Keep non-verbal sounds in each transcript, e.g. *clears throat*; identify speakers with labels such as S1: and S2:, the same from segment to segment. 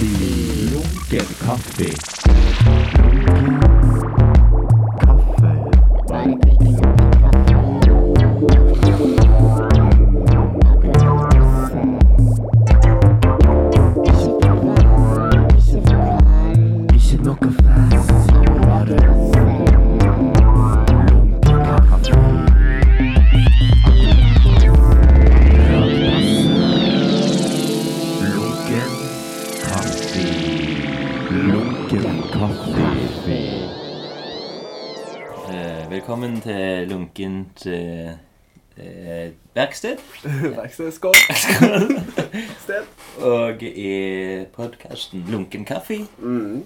S1: Lunken kaffe. Kaffe. Ikke noe fast. Bare lunken kaffe. Lunken kaffe. Lunken kaffe.
S2: Eh, Velkommen til lunkent eh, eh, verksted. *laughs*
S3: Verkstedskål. Sted.
S2: Og i podkasten Lunken kaffe
S3: Mm.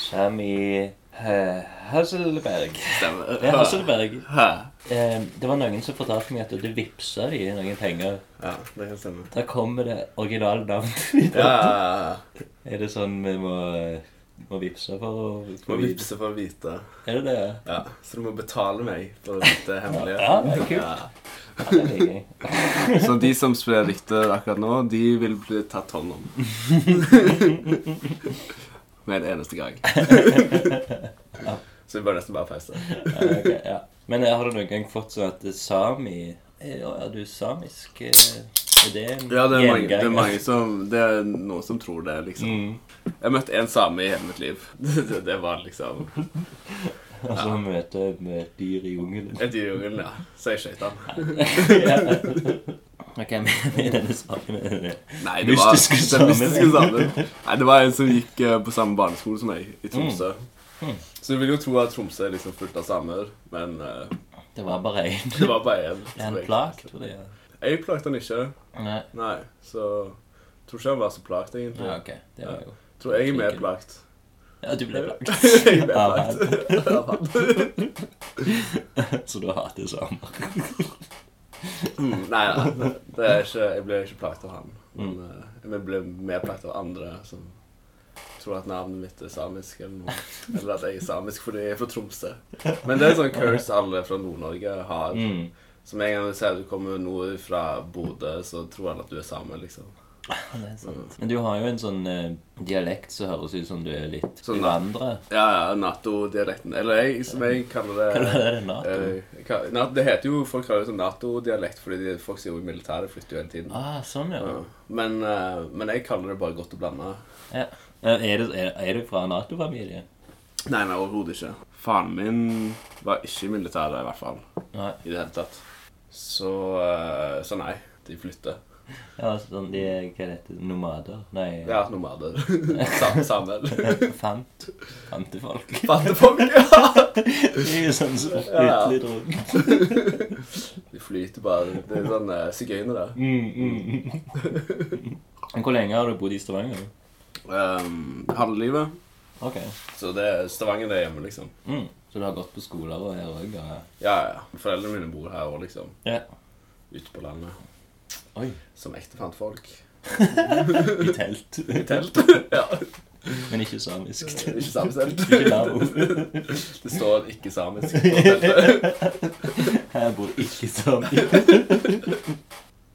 S2: Sami eh, Hasselberg.
S3: Stemmer.
S2: Ja, Hasselberg.
S3: Hæ?
S2: Eh, det var noen som fortalte meg at du vipsa de noen penger.
S3: Ja, det kan stemme.
S2: Da kommer det originale navnet. *laughs*
S3: Ja, ja, ja.
S2: Er det sånn vi må, må vippse for å
S3: Du må vippse for å vite.
S2: Er det det? ja?
S3: Ja. Så du må betale meg for dette hemmelige.
S2: Ja, det er kult. Ja, det liker jeg.
S3: Så de som spiller dikte akkurat nå, de vil bli tatt hånd
S2: *laughs*
S3: om. Med en eneste gang. Så vi bør nesten bare pause.
S2: Ja, ok, ja. Men eh, har du noen gang fått sånn at eh, sami eh, Å ja, du er samisk? eh, Er det en
S3: Ja, det er, mange, det er
S2: gjenganger?
S3: mange som Det er noen som tror det, liksom.
S2: *laughs* Mm.
S3: Jeg møtte en same i hele mitt liv. *laughs* Det, det var liksom
S2: Og så møte med et dyr i
S3: *laughs*
S2: jungelen. *laughs*
S3: Et dyr i jungelen, ja. Så jeg skøyt han.
S2: Ja. Ok, men i denne saken er det
S3: Nei, *laughs* det var,
S2: Mystiske samen.
S3: den mystiske samen. Nei, det var en som gikk eh, på samme barneskole som meg, i Tromsø. Så du vil jo tro at Tromsø er liksom fullt av samer, men eh,
S2: Det var bare én.
S3: det var bare
S2: *laughs*
S3: én.
S2: Er han plagt for det? ja?
S3: Jeg plagte han ikke.
S2: Nei.
S3: Nei, så tror ikke han var så plagt, egentlig.
S2: Ja, ok. Det var jo
S3: Tror jeg er mer plagt. *laughs*
S2: Ja, du ble Ah, plagt.
S3: jeg er mer
S2: Av
S3: *laughs* plagt. Av han.
S2: *laughs* Så du hater samer. *laughs*
S3: Mm, Nei da. Det er ikke, jeg ble ikke plagt av han. Men
S2: Mm.
S3: eh, jeg ble mer plagt av andre som tror at navnet mitt er samisk, eller noe. Eller at jeg er samisk fordi jeg er fra Tromsø. Men det er en sånn curse alle fra Nord-Norge har.
S2: Mm.
S3: Som en gang du sier du kommer nord fra Bodø, så tror alle at du er same, liksom.
S2: Ja, det er sant. Men du har jo en sånn eh, dialekt som høres ut som du er litt
S3: Sånn, da.
S2: vandrer.
S3: Ja, ja, Nato-dialekten. Eller jeg, som jeg kaller det
S2: *laughs* Eller *laughs* er det Nato?
S3: eh, jeg kall- na- det heter jo, Folk kaller det sånn Nato-dialekt fordi de- folk som jobber i militæret, flytter jo hele tiden.
S2: Ah, sånn, ja.
S3: Ja. Men, eh, men jeg kaller det bare godt å blande.
S2: ja. Er, det, er, er du fra Nato-familie?
S3: Nei, nei, overhodet ikke. Faren min var ikke i militæret, i hvert fall.
S2: Nei.
S3: I det hele tatt. Så, eh, så nei. De flytter.
S2: Ja, sånn, de er hva heter det, nomader? Nei, *laughs*
S3: Ja, *laughs* nomader. Sam Samuel. *laughs*
S2: fant. *laughs* Fantefolk.
S3: Fattefolk, ja!
S2: Det er jo sånn som
S3: Ja.
S2: plutselig drog.
S3: De flyter bare. Det er sånn eh, sigøynere.
S2: Mm, mm. Men hvor lenge har du bodd i Stavanger?
S3: Um, halve livet.
S2: Ok.
S3: Så det er Stavanger det er hjemme, liksom.
S2: Mm. Så du har gått på skoler og her òg?
S3: Ja, ja. Foreldrene mine bor her òg, liksom.
S2: Ja.
S3: Ute på landet.
S2: Oi.
S3: Som ekte fantfolk.
S2: I telt.
S3: *laughs* I telt. ja.
S2: Men ikke samisk. *laughs*
S3: Det er Ikke samstelt. *laughs*
S2: Ikke labo.
S3: Det står ikke samisk på teltet. *laughs*
S2: Her bor ikke sami. *laughs*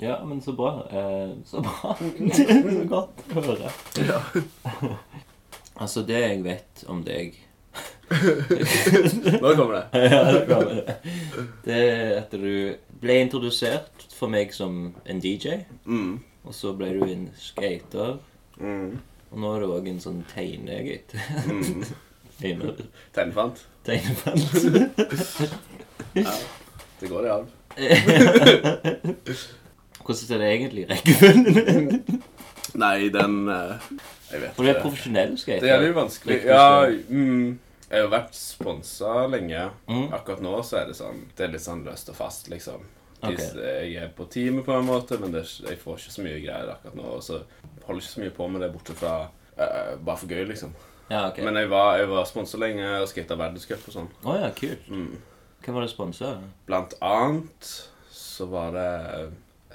S2: Ja, men så bra. Eh, så bra. *laughs* så godt å høre.
S3: Ja.
S2: *laughs* Altså, det jeg vet om deg
S3: Nå kommer det.
S2: *laughs* Ja, det kommer det. Det er at du ble introdusert for meg som en DJ,
S3: Mm.
S2: og så ble du en skater,
S3: Mm.
S2: og nå er du òg en sånn tegnegutt.
S3: Mm.
S2: *laughs* Tegner.
S3: Tegnefant.
S2: Tegnefant.
S3: Det går i arv.
S2: Hvordan er det egentlig i rekkefølgen?
S3: Nei, den eh, Jeg vet
S2: For du er profesjonell skater.
S3: Det er litt vanskelig.
S2: Litt
S3: Ja,
S2: forskjellig.
S3: mm, jeg har jo vært sponsa lenge.
S2: Mm.
S3: Akkurat nå så er det sånn Det er litt sånn løst og fast, liksom. De,
S2: Ok.
S3: Jeg er på teamet på en måte, men det, er ikke- jeg får ikke så mye greier akkurat nå. Og så holder jeg ikke så mye på med det bortsett fra eh, bare for gøy, liksom.
S2: Ja, ok.
S3: Men jeg var, jeg var sponsa lenge og skata verdenscup og sånn.
S2: Å ja, kult.
S3: Mm.
S2: Hvem var det sponsa?
S3: Blant annet så var det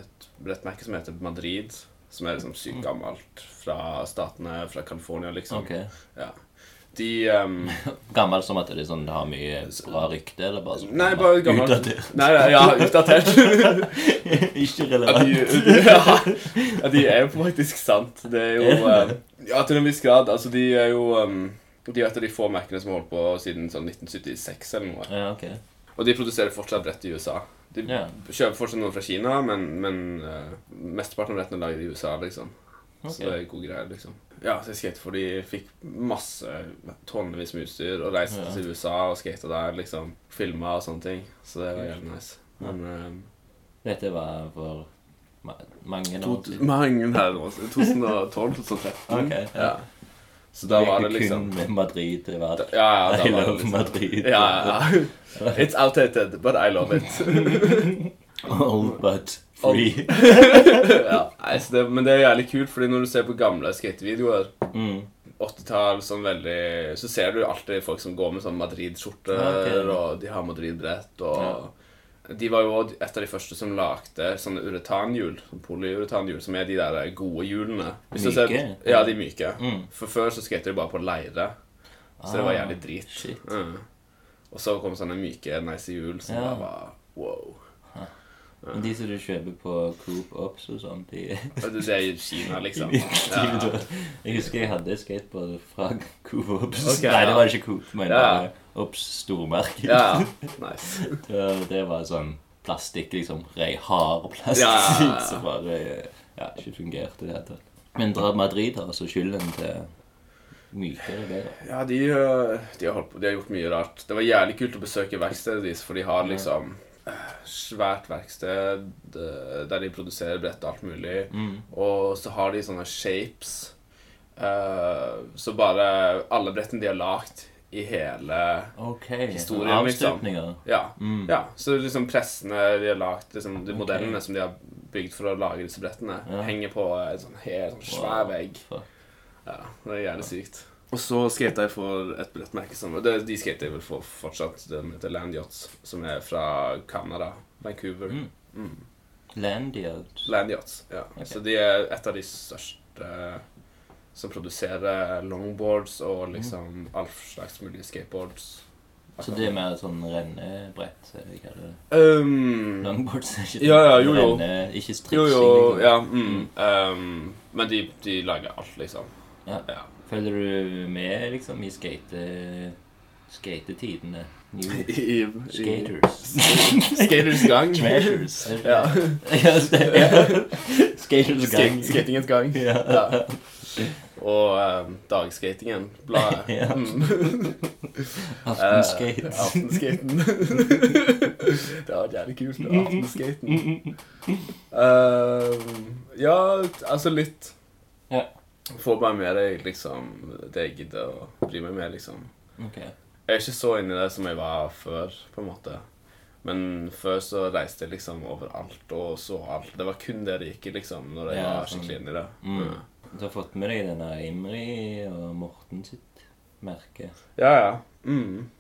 S3: et brettmerke som heter Madrid, som er liksom sykt gammelt fra statene, fra California, liksom.
S2: Mm. Ok.
S3: Ja. De um,
S2: Gammel som at det er sånn, det har mye bra rykte, eller bare sånn
S3: Nei,
S2: *laughs*
S3: bare gammel.
S2: Utdatert.
S3: Nei, nei, ja,
S2: *laughs*
S3: utdatert.
S2: Ikke
S3: Ja, de,
S2: relevant.
S3: ja, ja, de er jo faktisk sant. Det er jo
S2: Er
S3: eh, Ja, til en viss grad. Altså, de er jo um, De er et av de få merkene som har holdt på siden sånn 1976 eller noe.
S2: Ja, ok.
S3: Og de produserer fortsatt brett i USA. De
S2: Ja.
S3: kjøper fortsatt noe fra Kina, men, men eh, mesteparten av rettene er laget i USA, liksom.
S2: Ok.
S3: Så det er god greie, liksom. Ja, så jeg skatet for de fikk masse, tonnevis med utstyr, og reiste
S2: Ja.
S3: til USA og skata der, liksom. Filma og sånne ting. Så det var jævlig nice. Men eh,
S2: Dette var for ma- mange
S3: To,
S2: år
S3: *laughs*
S2: siden.
S3: mange her nå. 2012-2013.
S2: Ok, ja.
S3: ja. Så da var det liksom
S2: Kun med Madrid til
S3: da,
S2: verden.
S3: Ja, ja,
S2: I
S3: da var det
S2: love
S3: liksom
S2: Madrid.
S3: ja, ja, ja. It's outdated, but I love it.
S2: *laughs* Old but free.
S3: ja, nei, så det, men det er jævlig kult, fordi når du ser på gamle skatevideoer,
S2: Mm.
S3: 80-tall, sånn veldig Så ser du alltid folk som går med sånn Madrid-skjorter,
S2: Ja, Ah, ok.
S3: og de har Madrid-brett, og De var jo også et av de første som lagde sånne uretanhjul, sånn polyuretanhjul, som er de der gode hjulene. Hvis du
S2: Myke?
S3: ja, de er myke.
S2: Mm.
S3: For før så skatet de bare på leire, så det var
S2: Ah,
S3: jævlig
S2: *laughs*
S3: drit.
S2: shit.
S3: Mm. Og så kom sånne myke, nice hjul som
S2: Ja.
S3: bare var wow.
S2: Men de som du kjøper på Coop Ops og sånn, de
S3: Og Det det er i Kina,
S2: *laughs*
S3: liksom.
S2: de-
S3: Ja.
S2: Jeg husker jeg hadde skateboard fra Coop Ops.
S3: Ok,
S2: Nei, det
S3: ja.
S2: var ikke Coop, men det
S3: Ja.
S2: var Ops stormerke.
S3: Ja, nice.
S2: *laughs* Det- Det var sånn plastikk, liksom. Rei hard plastikk
S3: Ja, ja, ja,
S2: *laughs*
S3: ja.
S2: som bare ja, ikke fungerte i det hele tatt. Men drar Madrid har altså skylden til mykere greier.
S3: Ja, de, øh, de, har holdt på, de har gjort mye rart. Det var jævlig kult å besøke verkstedet deres, for de har liksom øh, svært verksted øh, der de produserer brett og alt mulig. Og så har de sånne shapes. øh, så bare alle brettene de har lagd i hele
S2: Ok.
S3: Historien, liksom.
S2: Avstøpninger.
S3: Ja. ja. Så liksom pressene de har lagt, liksom, de modellene som de har bygd for å lage disse brettene,
S2: Ja.
S3: henger på en sånn helt sånn svær vegg.
S2: Fuck.
S3: Ja, det er jævlig sykt. Og så skata jeg for et brettmerke som det, De skater jeg vel for fortsatt. Den heter Land Yachts, som er fra Canada. Vancouver.
S2: Mm. Landiard.
S3: Land Yachts, ja. Så de er et av de største som produserer longboards
S2: Mm.
S3: og liksom all slags mulige skateboards.
S2: Så det er mer sånn rennebrett? eller hva det er.
S3: um,
S2: Longboards er ikke
S3: Ja, ja, jo, jo.
S2: Renne, ikke stripsing.
S3: Jo, jo,
S2: liksom.
S3: ja. Mm, um, men de, de lager alt, liksom.
S2: Ja.
S3: Ja.
S2: Følger du med liksom i skate... skatetidene?
S3: *laughs*
S2: New skaters.
S3: Skaters gang.
S2: Treasures.
S3: *laughs* Ja.
S2: *laughs* Ja, så-
S3: *laughs*
S2: ja. Skaters gang.
S3: Skate, skatingens gang.
S2: *laughs* Ja.
S3: Ja. Og um, dagskatingen.
S2: *laughs*
S3: Bladet.
S2: Ja.
S3: Mm.
S2: Aftenskate.
S3: Eh, aftenskaten.
S2: *laughs*
S3: det hadde vært jævlig kult. da, Aftenskaten. Eh, ja, altså litt.
S2: Ja.
S3: Få bare med deg liksom det jeg gidder å bry meg med, liksom.
S2: Ok.
S3: Jeg er ikke så inni det som jeg var før, på en måte. Men før så reiste jeg liksom overalt og så alt. Det var kun det det gikk i, liksom, når jeg
S2: Ja,
S3: var
S2: sånn.
S3: skikkelig inni det.
S2: Mm.
S3: Ja.
S2: Du har fått med deg denne Imri og Morten sitt merke.
S3: Ja, ja. Mm.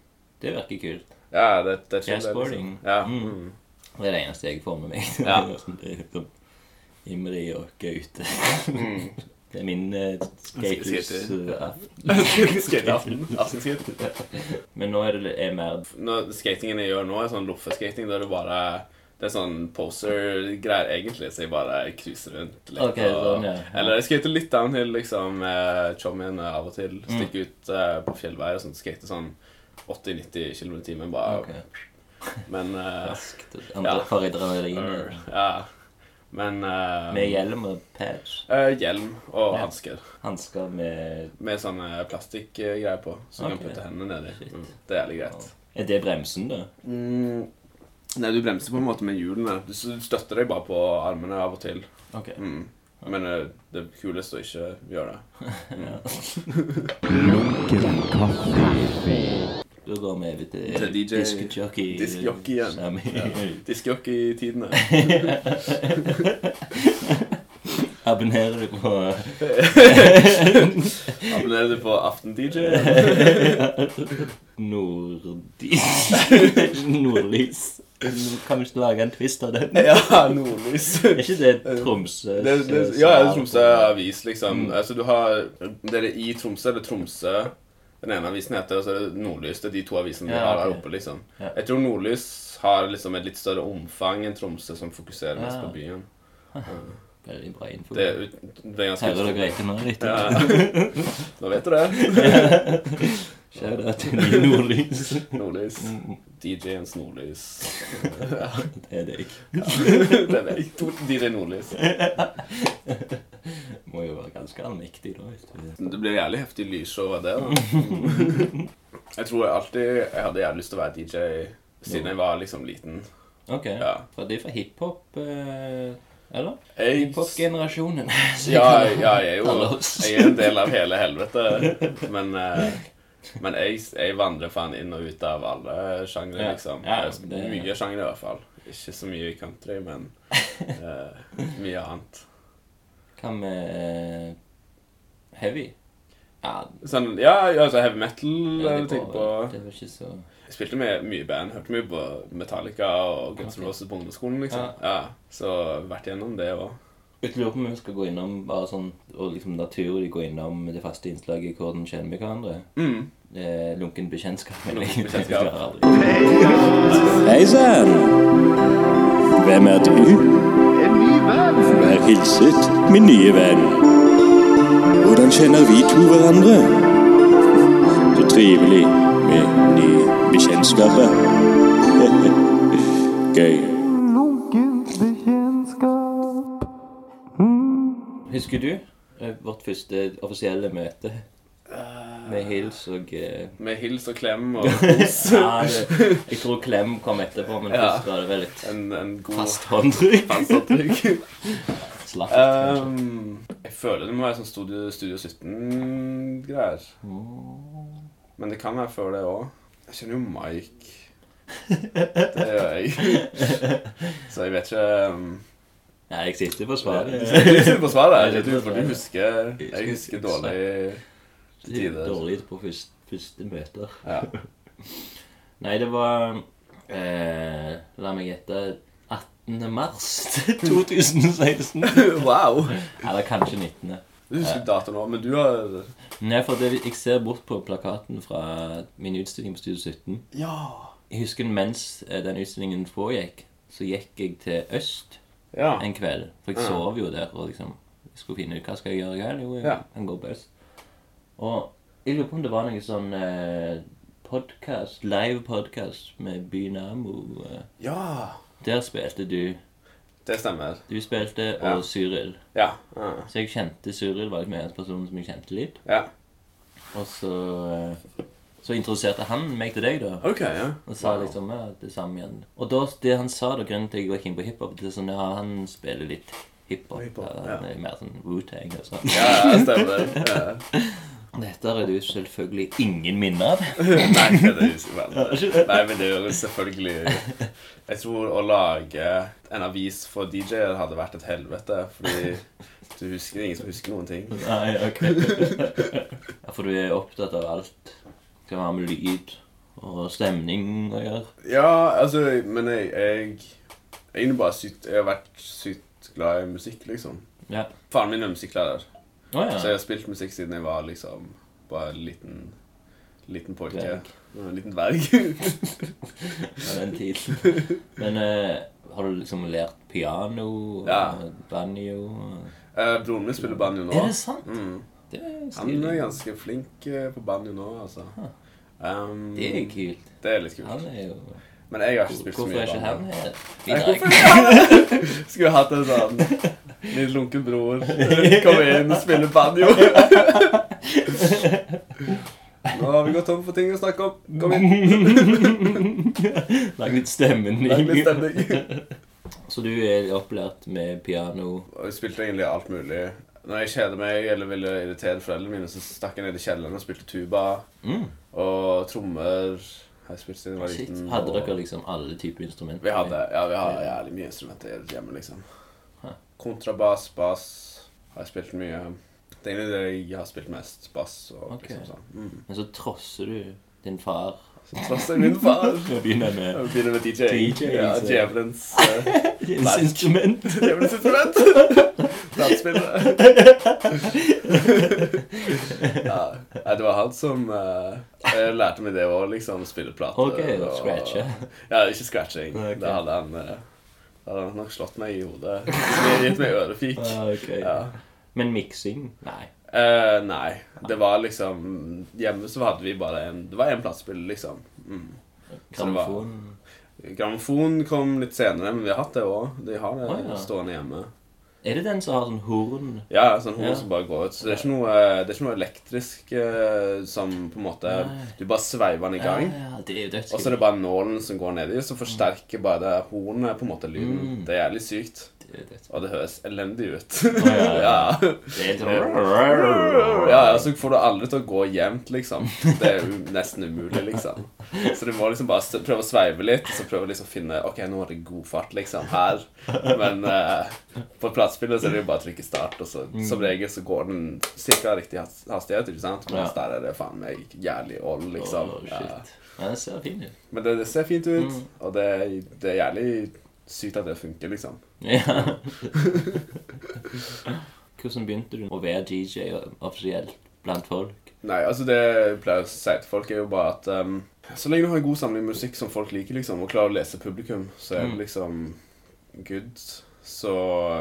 S2: Det virker kult.
S3: Ja, det, det er chill, det, liksom.
S2: Jazzboarding.
S3: Ja.
S2: Mm.
S3: Mm.
S2: Det er det eneste jeg får med meg.
S3: Ja.
S2: *laughs* Det er liksom Imri og Gaute.
S3: Mm.
S2: *laughs* Det er min uh,
S3: Skater.
S2: skatehus-aften.
S3: Mm. Skateaften. Aftenskate.
S2: Men nå er det er mer
S3: Når Skatingen jeg gjør nå, er sånn loffeskating. Da er det bare Det er sånn poser-greier, egentlig, så jeg bare cruiser rundt litt.
S2: Ok, sånn, ja. Ja.
S3: Eller jeg skater litt downhill, liksom, med chommien av og til.
S2: Mm.
S3: Stikke ut eh, på fjellveier og sånn. Skate sånn 80-90 km i timen, bare.
S2: Ok.
S3: Men eh,
S2: raskt. Andre
S3: Ja.
S2: for adrenalin.
S3: øh, Ja. Men eh,
S2: Med hjelm og patch.
S3: eh, hjelm og
S2: Ja.
S3: hansker.
S2: Hansker med
S3: Med sånne plastikkgreier på, så du
S2: Ok.
S3: kan putte hendene nedi.
S2: Shit.
S3: Mm. Det er jævlig greit.
S2: Er det bremsen, da?
S3: Mm. Nei, du bremser på en måte med hjulene. Du s- støtter deg bare på armene av og til.
S2: *laughs* Ok.
S3: Mm. Men eh, det er kulest å ikke gjøre det.
S1: Lunken kaffe.
S2: Da går vi over
S3: Til
S2: til
S3: DJ
S2: diskjockey.
S3: Diskjockey igjen.
S2: Sammy.
S3: Diskjockey-tidene.
S2: *laughs* Abonnerer du på
S3: Abonnerer du på Aften-DJ? *laughs*
S2: Nordis? Nordlys? Kan vi ikke lage en twist av
S3: *laughs*
S2: den?
S3: ja, Nordlys. *laughs*
S2: Er ikke det eh, Tromsø?
S3: Eh, Det, det,
S2: Mm.
S3: ja, det er Tromsø Avis, liksom. Altså, du har Det er i Tromsø, det er Tromsø. Den ene avisen heter og så er det Nordlys. Det er de to avisene vi
S2: Ja,
S3: har
S2: ok.
S3: her oppe. liksom.
S2: Ja.
S3: Jeg tror Nordlys har liksom et litt større omfang enn Tromsø, som fokuserer mest
S2: Ja.
S3: på byen.
S2: Veldig bra info.
S3: Det er, ut, det er ganske
S2: Hører dere ikke nå, riktig? *laughs*
S3: Ja, ja. Nå vet du det.
S2: Shout out til Ny
S3: *laughs*
S2: Nordlys.
S3: Nordlys.
S2: Mm.
S3: DJ-ens Nordlys.
S2: *laughs* Det er deg.
S3: Det er meg. To- DJ Nordlys.
S2: Må jo være ganske allmektig, da. hvis du-
S3: Det blir jævlig heftig lysshow av det. da.
S2: *laughs*
S3: Jeg tror jeg alltid Jeg hadde jævlig lyst til å være DJ siden jeg var liksom liten.
S2: Ok.
S3: Ja.
S2: For de er fra hiphop eh, Eller?
S3: Jeg,
S2: Hiphop-generasjonen. *laughs* så
S3: ja,
S2: jeg kan-
S3: ja, jeg er jo
S2: Alle oss.
S3: jeg er en del av hele helvete. Men, eh, men jeg, jeg vandrer faen inn og ut av alle sjangre,
S2: Ja.
S3: liksom.
S2: Ja,
S3: Det er
S2: det-
S3: Mye sjangre, i hvert fall. Ikke så mye country,
S2: *laughs*
S3: men eh, mye annet.
S2: Hva med eh, heavy? Ja,
S3: Sånn, ja, ja, altså heavy metal
S2: det,
S3: jeg
S2: var,
S3: tenker på.
S2: det var ikke så
S3: Jeg spilte mye, mye band. Hørte mye på Metallica og Guns N'
S2: Ok.
S3: Roses på ungdomsskolen. liksom. Ja. Så vært gjennom det òg.
S2: Jeg lurer på om vi skal gå innom bare sånn, og liksom naturlig gå innom det faste innslaget i hvordan kjenner vi hverandre.
S3: Mm.
S2: Eh, lunken bekjentskap. mener jeg.
S3: Lunken bekjentskap.
S2: Jeg klarer aldri.
S4: Hei sann! Hvem er du? En ny venn. Vær hilset, min nye venn. Hvordan kjenner vi to hverandre? Så trivelig med nye bekjentskaper. *laughs* Gøy.
S2: Husker du eh, vårt første offisielle møte med hils og eh,
S3: Med hils og klem og kos.
S2: *laughs* ja, det, Jeg tror klem kom etterpå, men
S3: Ja.
S2: først var det vel litt
S3: En, en god
S2: fast håndtrykk. *laughs*
S3: fastavtrykk.
S2: Slapp.
S3: Ehm, jeg føler det må være sånn Studio, studio 17-greier.
S2: Oh.
S3: Men det kan være før det òg. Jeg kjenner jo
S2: *laughs*
S3: Mike. Det gjør jeg. Så jeg vet ikke ehm,
S2: Nei, jeg sitter på
S3: Jeg
S2: svaret.
S3: er litt usikker på
S2: *laughs*
S3: svaret.
S2: Jeg er
S3: Jeg
S2: litt
S3: tror du
S2: usikker.
S3: husker Jeg husker dårlig til
S2: Litt
S3: tider.
S2: dårlig på første, første møter.
S3: Ja.
S2: *laughs* Nei, det var eh, La meg gjette 18. mars *laughs* 2016.
S3: *laughs* Wow!
S2: Eller kanskje 19.
S3: Du husker datoen nå, men du har
S2: Nei, for det, jeg ser bort på plakaten fra min utstilling på Studio 17.
S3: Ja!
S2: Jeg husker mens eh, den utstillingen pågikk, så gikk jeg til øst
S3: Ja.
S2: en kveld. For jeg
S3: Ja.
S2: sov jo der og liksom jeg skulle finne ut hva skal jeg gjøre i kveld. Jo, jeg
S3: Ja.
S2: kan gå på øst. Og jeg lurer på om det var noe sånn eh, podcast, live podcast med Bynamo. Eh,
S3: ja.
S2: der spilte du.
S3: Det stemmer.
S2: Du spilte, og
S3: Ja.
S2: Cyril.
S3: Ja. Ja.
S2: Så jeg kjente Cyril var liksom en person som jeg kjente litt.
S3: ja.
S2: Og så, eh, så introduserte han meg til deg, da.
S3: OK, ja.
S2: Og sa liksom ja, det samme igjen. Og da, det han sa, da, grunnen til at jeg gikk inn på hiphop, det er sånn ja, han spiller litt hiphop.
S3: Hiphop,
S2: eller
S3: ja.
S2: han er Mer sånn Wu-Tang og sånn.
S3: Ja, ja, stemmer. Ja. *laughs*
S2: Dette har du selvfølgelig ingen minne av.
S3: *laughs* Nei, det er usikkert. Nei, men det gjør selvfølgelig Jeg tror å lage en avis for DJ-er hadde vært et helvete, fordi du husker ingen som husker noen ting.
S2: Nei, ok. Ja, For du er opptatt av alt. Skal ha med lyd og stemning å gjøre.
S3: Ja, altså, men jeg, jeg, jeg er egentlig bare sykt, jeg har vært sykt glad i musikk, liksom.
S2: Ja.
S3: Faren min er musikklærer,
S2: Å
S3: så jeg
S2: ja.
S3: har spilt musikk siden jeg var liksom bare en liten, liten pojke.
S2: Dverg.
S3: En liten dverg. *laughs*
S2: På den tiden. Men eh, har du liksom lært piano og
S3: Ja.
S2: banjo? og-
S3: Eh, Broren min spiller banjo nå.
S2: Er det sant?
S3: Mm.
S2: Det er
S3: Han er
S2: stilig.
S3: ganske flink eh, på banjo nå, altså. Um,
S2: Det er kult.
S3: Det er litt kult.
S2: Han er jo
S3: Men jeg har ikke spilt så
S2: Hvorfor
S3: mye
S2: er ikke han
S3: banjo.
S2: her?
S3: Nei,
S2: Vidar,
S3: hvorfor Skulle hatt en sånn Min lunken bror *laughs* Kom inn og spille
S2: *laughs*
S3: banjo. Nå har vi gått tom for ting å snakke om. Kom inn.
S2: *laughs* Lag litt stemmen
S3: Lag litt stemning.
S2: Så du er opplært med piano?
S3: Og Vi spilte egentlig alt mulig. Når jeg kjeder meg eller ville irritere foreldrene mine, så stakk jeg ned i kjelleren og spilte tuba
S2: Mm.
S3: og trommer. Har jeg spilt siden jeg var
S2: Shit.
S3: liten.
S2: Hadde
S3: og-
S2: dere liksom alle typer instrumenter?
S3: Vi hadde, ja, vi har jævlig mye instrumenter hjemme, liksom. Kontrabass, bass har jeg spilt mye. Det er egentlig det jeg har spilt mest. Bass og
S2: Ok.
S3: liksom sånn. Mm.
S2: Men så trosser du din far.
S3: Trass i min
S2: *laughs*
S3: far.
S2: Nå begynner jeg med
S3: Vi begynner med DJ.
S2: DJ,
S3: ja,
S2: så-
S3: djevelens eh,
S2: hans instrument.
S3: djevelens instrument. Platespillere. ja, nei, det var han som eh, eh, lærte meg det å liksom spille plate.
S2: Ok, scratche.
S3: Ja, ikke scratching.
S2: Nei, ok.
S3: Det hadde han eh, det hadde han nok slått meg i hodet. Gitt- Gitt meg ørefik.
S2: Ah, ok.
S3: Ja.
S2: Men miksing? Nei.
S3: Eh, nei. Det var liksom Hjemme så hadde vi bare en Det var en platespiller, liksom. Mm. Så det var-
S2: Grammofon?
S3: Grammofon kom litt senere, men vi har hatt det òg. De har det
S2: Å, ja.
S3: stående hjemme.
S2: Er det den som har sånn horn?
S3: Ja, ja, sånn hår
S2: Ja.
S3: som bare går ut. Så det er ikke noe, eh, det er ikke noe elektrisk eh, som på en måte
S2: Nei.
S3: Du bare sveiver den i gang.
S2: Ja, ja, det er jo
S3: Og så er
S2: dødskult.
S3: det bare nålen som går nedi, så forsterker bare det hornet på en måte lyden.
S2: Mm.
S3: Det er jævlig sykt.
S2: Det er dødskult.
S3: Og det høres elendig ut.
S2: ja, ja.
S3: *laughs* ja.
S2: Det er helt sånn
S3: Ja, ja, så får du aldri til å gå jevnt, liksom. Det er jo nesten umulig, liksom. Så du må liksom bare s- prøve å sveive litt, og så prøve å liksom finne Ok, nå er det god fart, liksom, her. Men eh, på platespillet så er det jo bare å trykke start, og så
S2: Mm.
S3: som regel så går den ca. riktig has- hastighet, ikke sant? Mens
S2: Ja.
S3: der er det faen meg jævlig ål, liksom.
S2: Åh,
S3: Ja.
S2: shit. Mm. Ja, det ser fin ut.
S3: Men det, det ser fint ut, og det, det er jævlig sykt at det funker, liksom.
S2: Ja. *laughs* Hvordan begynte du å være DJ offisielt blant folk?
S3: Nei, altså det jeg pleier å si til folk er jo bare at ehm, Så lenge du har en god samling musikk som folk liker, liksom, og klarer å lese publikum, så er
S2: Mm.
S3: det liksom good. Så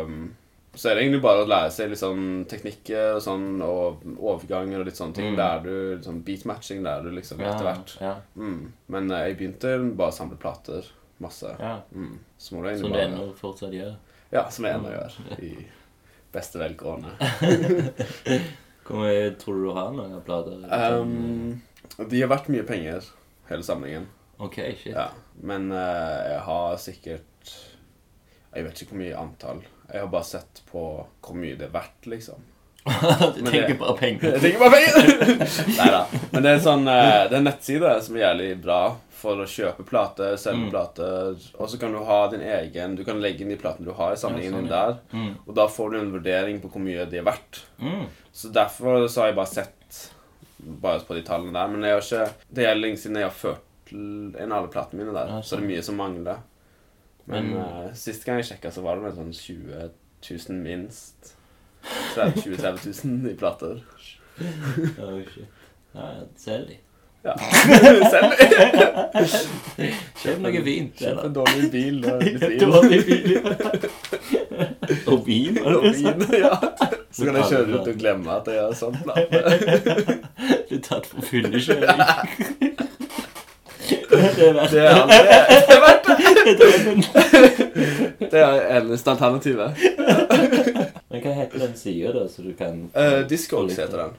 S3: ehm, så er det egentlig bare å lære seg litt sånn teknikker og sånn, og overganger og litt sånne ting.
S2: Mm.
S3: Lærer du litt sånn beatmatching, lærer du liksom etter hvert.
S2: Ja,
S3: Mm. Men eh, jeg begynte bare å samle plater. Masse.
S2: ja.
S3: Mm. Så må du
S2: Som Mm. du
S3: egentlig bare
S2: ennå fortsatt gjør.
S3: Ja, som jeg ennå gjør. I beste velgående.
S2: *laughs* Hvor mye tror du du har noen plater?
S3: Ehm, og de har vært mye penger, hele samlingen.
S2: ok, shit. *laughs*
S3: Ja, men eh, jeg har sikkert Jeg vet ikke hvor mye antall. Jeg har bare sett på hvor mye det er verdt, liksom.
S2: *laughs* du
S3: men
S2: tenker
S3: det-
S2: bare penger.
S3: Jeg tenker bare penger! *laughs* Neida. Men det er, sånn, eh, det er en nettside som er jævlig bra for å kjøpe plater, selge
S2: Mm.
S3: plater, og så kan du ha din egen Du kan legge inn de platene du har i samlingen
S2: Ja, sånn,
S3: din der,
S2: Mm.
S3: og da får du en vurdering på hvor mye de er verdt.
S2: Mm.
S3: Så derfor så har jeg bare sett bare på de tallene der. Men jeg har ikke, det er lenge siden jeg har ført inn alle platene mine der,
S2: Ja,
S3: så det er mye som mangler. sånn. Men
S2: Men-
S3: eh, sist gang jeg sjekka, så var det vel sånn 20 000 minst. 30 20 30 000 i *laughs* plater.
S2: Oh, shit. Ja, ja, selg de.
S3: Ja. Selv
S2: Kjøp noe fint.
S3: kjøp
S2: eller?
S3: en dårlig bil og *laughs* litt vin.
S2: Dårlig bil. *laughs* Og vin, var
S3: Og
S2: det du sa?
S3: vin, ja. *laughs* Så kan jeg kjøre rundt og glemme at jeg har sånn plate.
S2: Du er tatt for fyllekjøring. *laughs* Det er verdt
S3: Det er, det er, *laughs* det er verdt
S2: det.
S3: *laughs* det. Det er eneste alternativet.
S2: Men hva heter den sida, da, så du kan
S3: Uh, Discogs heter den.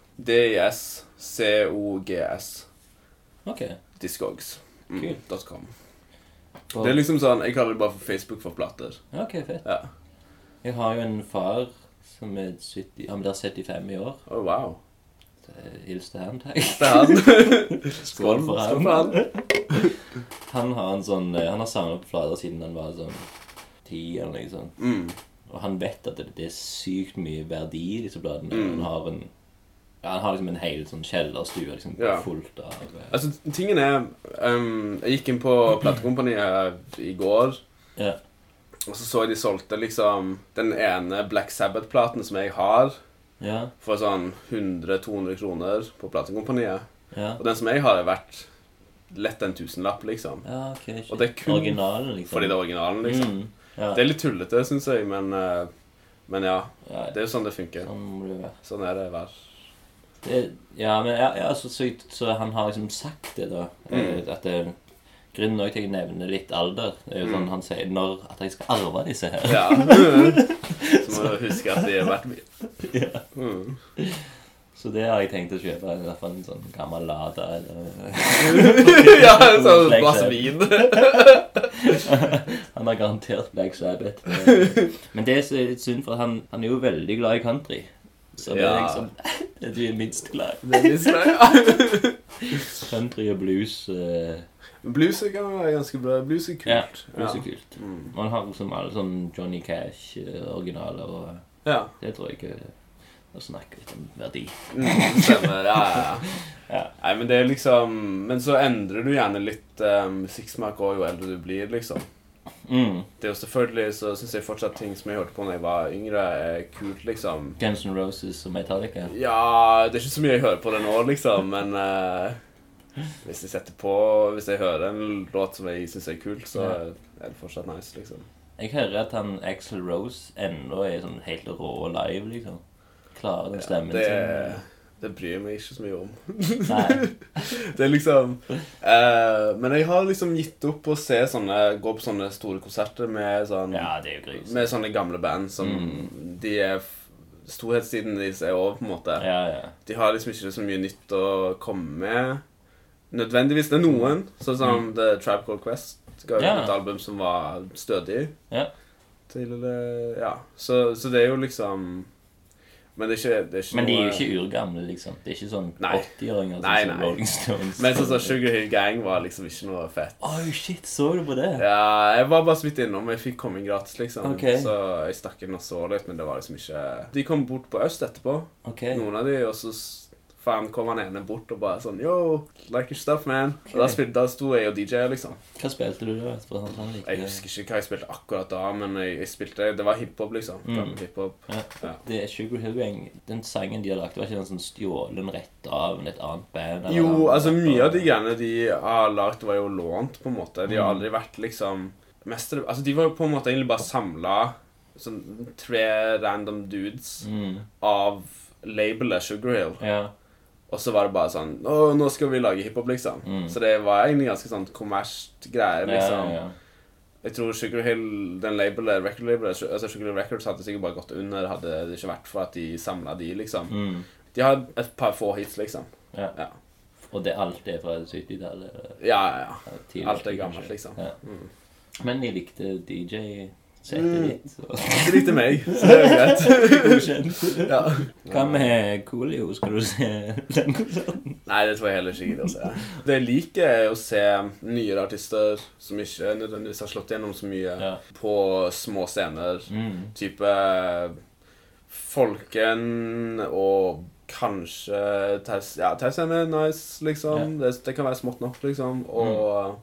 S3: D-I-S-C-O-G-S.
S2: Ok.
S3: Discogs.
S2: Kul.
S3: Mm, dot .com.
S2: Og,
S3: Det er liksom sånn Jeg kaller det bare for Facebook for plater.
S2: Ja, ok, fett.
S3: Ja.
S2: Jeg har jo en far som er 70, han blir 75 i år.
S3: Oh, wow.
S2: Eh, Hils til han, takk.
S3: Det er han.
S2: *laughs* Skål for
S3: Skål
S2: han. Han har en sånn eh, Han har samla på flater siden han var sånn ti eller noe sånt.
S3: Mm.
S2: Og han vet at det, det er sykt mye verdi i disse bladene.
S3: Mm.
S2: Han har en ja, Han har liksom en hel sånn kjellerstue liksom,
S3: Ja.
S2: fullt av eh,
S3: Altså, tingen er ehm, Jeg gikk inn på platekompaniet her i går,
S2: Ja.
S3: og så så jeg de solgte liksom den ene Black Sabbath-platen som jeg har,
S2: Ja.
S3: for sånn 100-200 kroner på platekompaniet.
S2: ja.
S3: Og den som jeg har, er verdt lett en tusenlapp, liksom.
S2: Ja, ok. shit.
S3: Og det er kun
S2: Originalen, liksom.
S3: Fordi det er originalen, liksom.
S2: Mm, ja.
S3: Det er litt tullete, syns jeg, men, eh, men ja.
S2: ja,
S3: Det er jo sånn det funker.
S2: Sånn må det jo være.
S3: Sånn er det hver
S2: Det, ja, men ja, ja, så sykt Så han har liksom sagt det, da. eh,
S3: Mm.
S2: At det, Grunnen også til at jeg nevner litt alder, er jo sånn
S3: Mm.
S2: han sier når at jeg skal arve disse her.
S3: Ja. *laughs* Så må du huske at det er verdt mye. Mm.
S2: Så det har jeg tenkt å kjøpe. I hvert fall en sånn gammel Lada eller
S3: *laughs*
S2: *laughs*
S3: Ja, sånn glass vin.
S2: Han har garantert Black Sabbath.
S3: *laughs*
S2: Eh, Men det er så litt synd, for han, han er jo veldig glad i country. Så det er
S3: Ja.
S2: liksom *laughs* det du er minst glad i.
S3: Det *laughs* er litt skrei.
S2: Country og blues eh,
S3: Blues kan være ganske bra. Blues er
S2: Ja,
S3: kult.
S2: blues er kult.
S3: Mm.
S2: Man har liksom alle sånn Johnny Cash-originaler, eh, og
S3: Ja.
S2: det tror jeg ikke og snakke litt om verdi.
S3: Mm, stemmer. Ja, ja, ja.
S2: Ja.
S3: Nei, men det er liksom Men så endrer du gjerne litt eh, musikksmak òg jo eldre du blir, liksom.
S2: Mm.
S3: Det er jo selvfølgelig så syns jeg fortsatt ting som jeg hørte på da jeg var yngre, er kult, liksom.
S2: Guns N' Roses og Metallica.
S3: Ja, det er ikke så mye jeg hører på det nå, liksom, men eh, hvis jeg setter på Hvis jeg hører en låt som jeg syns er kul, så
S2: Ja.
S3: er det fortsatt nice, liksom.
S2: Jeg hører at han Axel Rose ennå er sånn helt rå live, liksom. Klarer den stemmen
S3: Det,
S2: sin.
S3: det bryr jeg meg ikke så mye om. *laughs*
S2: Nei.
S3: Det er liksom eh, Men jeg har liksom gitt opp å se sånne gå på sånne store konserter med sånn
S2: Ja, det er jo gris.
S3: Med sånne gamle band som De er f- Storhetstiden deres er over, på en måte.
S2: Ja, ja.
S3: De har liksom ikke så mye nytt å komme med. Nødvendigvis. Det er noen, sånn som The Tribe Called Quest. Ga ut
S2: Mm. Ja.
S3: et album som var stødig.
S2: Ja.
S3: Til, eh, ja. så, så det er jo liksom Men det er ikke, det er ikke
S2: Men de er
S3: noe-
S2: jo ikke urgamle, liksom. Det er ikke sånn
S3: eh, Nei.
S2: 80-åringer
S3: Nei,
S2: som
S3: nei.
S2: Rolling Stones.
S3: Men sånn som Sugar Hill Gang var liksom ikke noe fett.
S2: Oi, shit, så du på det?
S3: Ja, jeg var bare så vidt innom. Jeg fikk komme inn gratis, liksom.
S2: Ok.
S3: Så jeg stakk inn og så litt, men det var liksom ikke De kom bort på øst etterpå,
S2: Ok.
S3: noen av de, og så s- faen kom han ene bort og bare sånn Yo, like your stuff, man. Og da, spilte, da sto jeg og DJ-a, liksom.
S2: Hva spilte du da? For sånn at han likte
S3: Jeg husker ikke hva jeg spilte akkurat da, men jeg, jeg spilte Det var hiphop, liksom. Gammel Hiphop.
S2: Ja.
S3: Ja.
S2: Det er Sugar Hill Gang. Den sangen de har lagt, var ikke den sånn stjålen rett av et annet band? eller
S3: Jo,
S2: noe
S3: altså
S2: annet?
S3: mye av de greiene de har lagd, var jo lånt, på en måte. De har aldri vært liksom mestere Altså, de var jo på en måte egentlig bare samla sånn tre random dudes
S2: Mm.
S3: av labelet Sugar Hill.
S2: Ja.
S3: Og så var det bare sånn Å, nå skal vi lage hiphop, liksom.
S2: Mm.
S3: Så det var egentlig ganske sånn kommersielt greie, liksom.
S2: Ja, ja, ja.
S3: Jeg tror Sugar Hill, den labelet, record labelet, altså Sugar Hill Records hadde sikkert bare gått under, hadde det ikke vært for at de samla de, liksom.
S2: Mm.
S3: De har et par få hits, liksom.
S2: Ja.
S3: Ja.
S2: Og det, alt er fra 70-tallet? eller?
S3: Ja, ja, ja.
S2: tidligere,
S3: Alt er gammelt,
S2: kanskje.
S3: liksom.
S2: Ja. Men de likte DJ-settet
S3: Mm.
S2: ditt. Så. *laughs*
S3: De likte meg, så det er jo greit.
S2: Godkjent.
S3: Ja.
S2: Hva med Coolio? Skal du se den konserten?
S3: Nei, det tror jeg heller ikke gidder å se. Det jeg liker, er å se nyere artister som ikke nødvendigvis har slått gjennom så mye,
S2: Ja.
S3: på små scener.
S2: Mm.
S3: Type eh, Folken og kanskje Taus- Ja, Tausen er nice, liksom. Det, det kan være smått nok, liksom. Og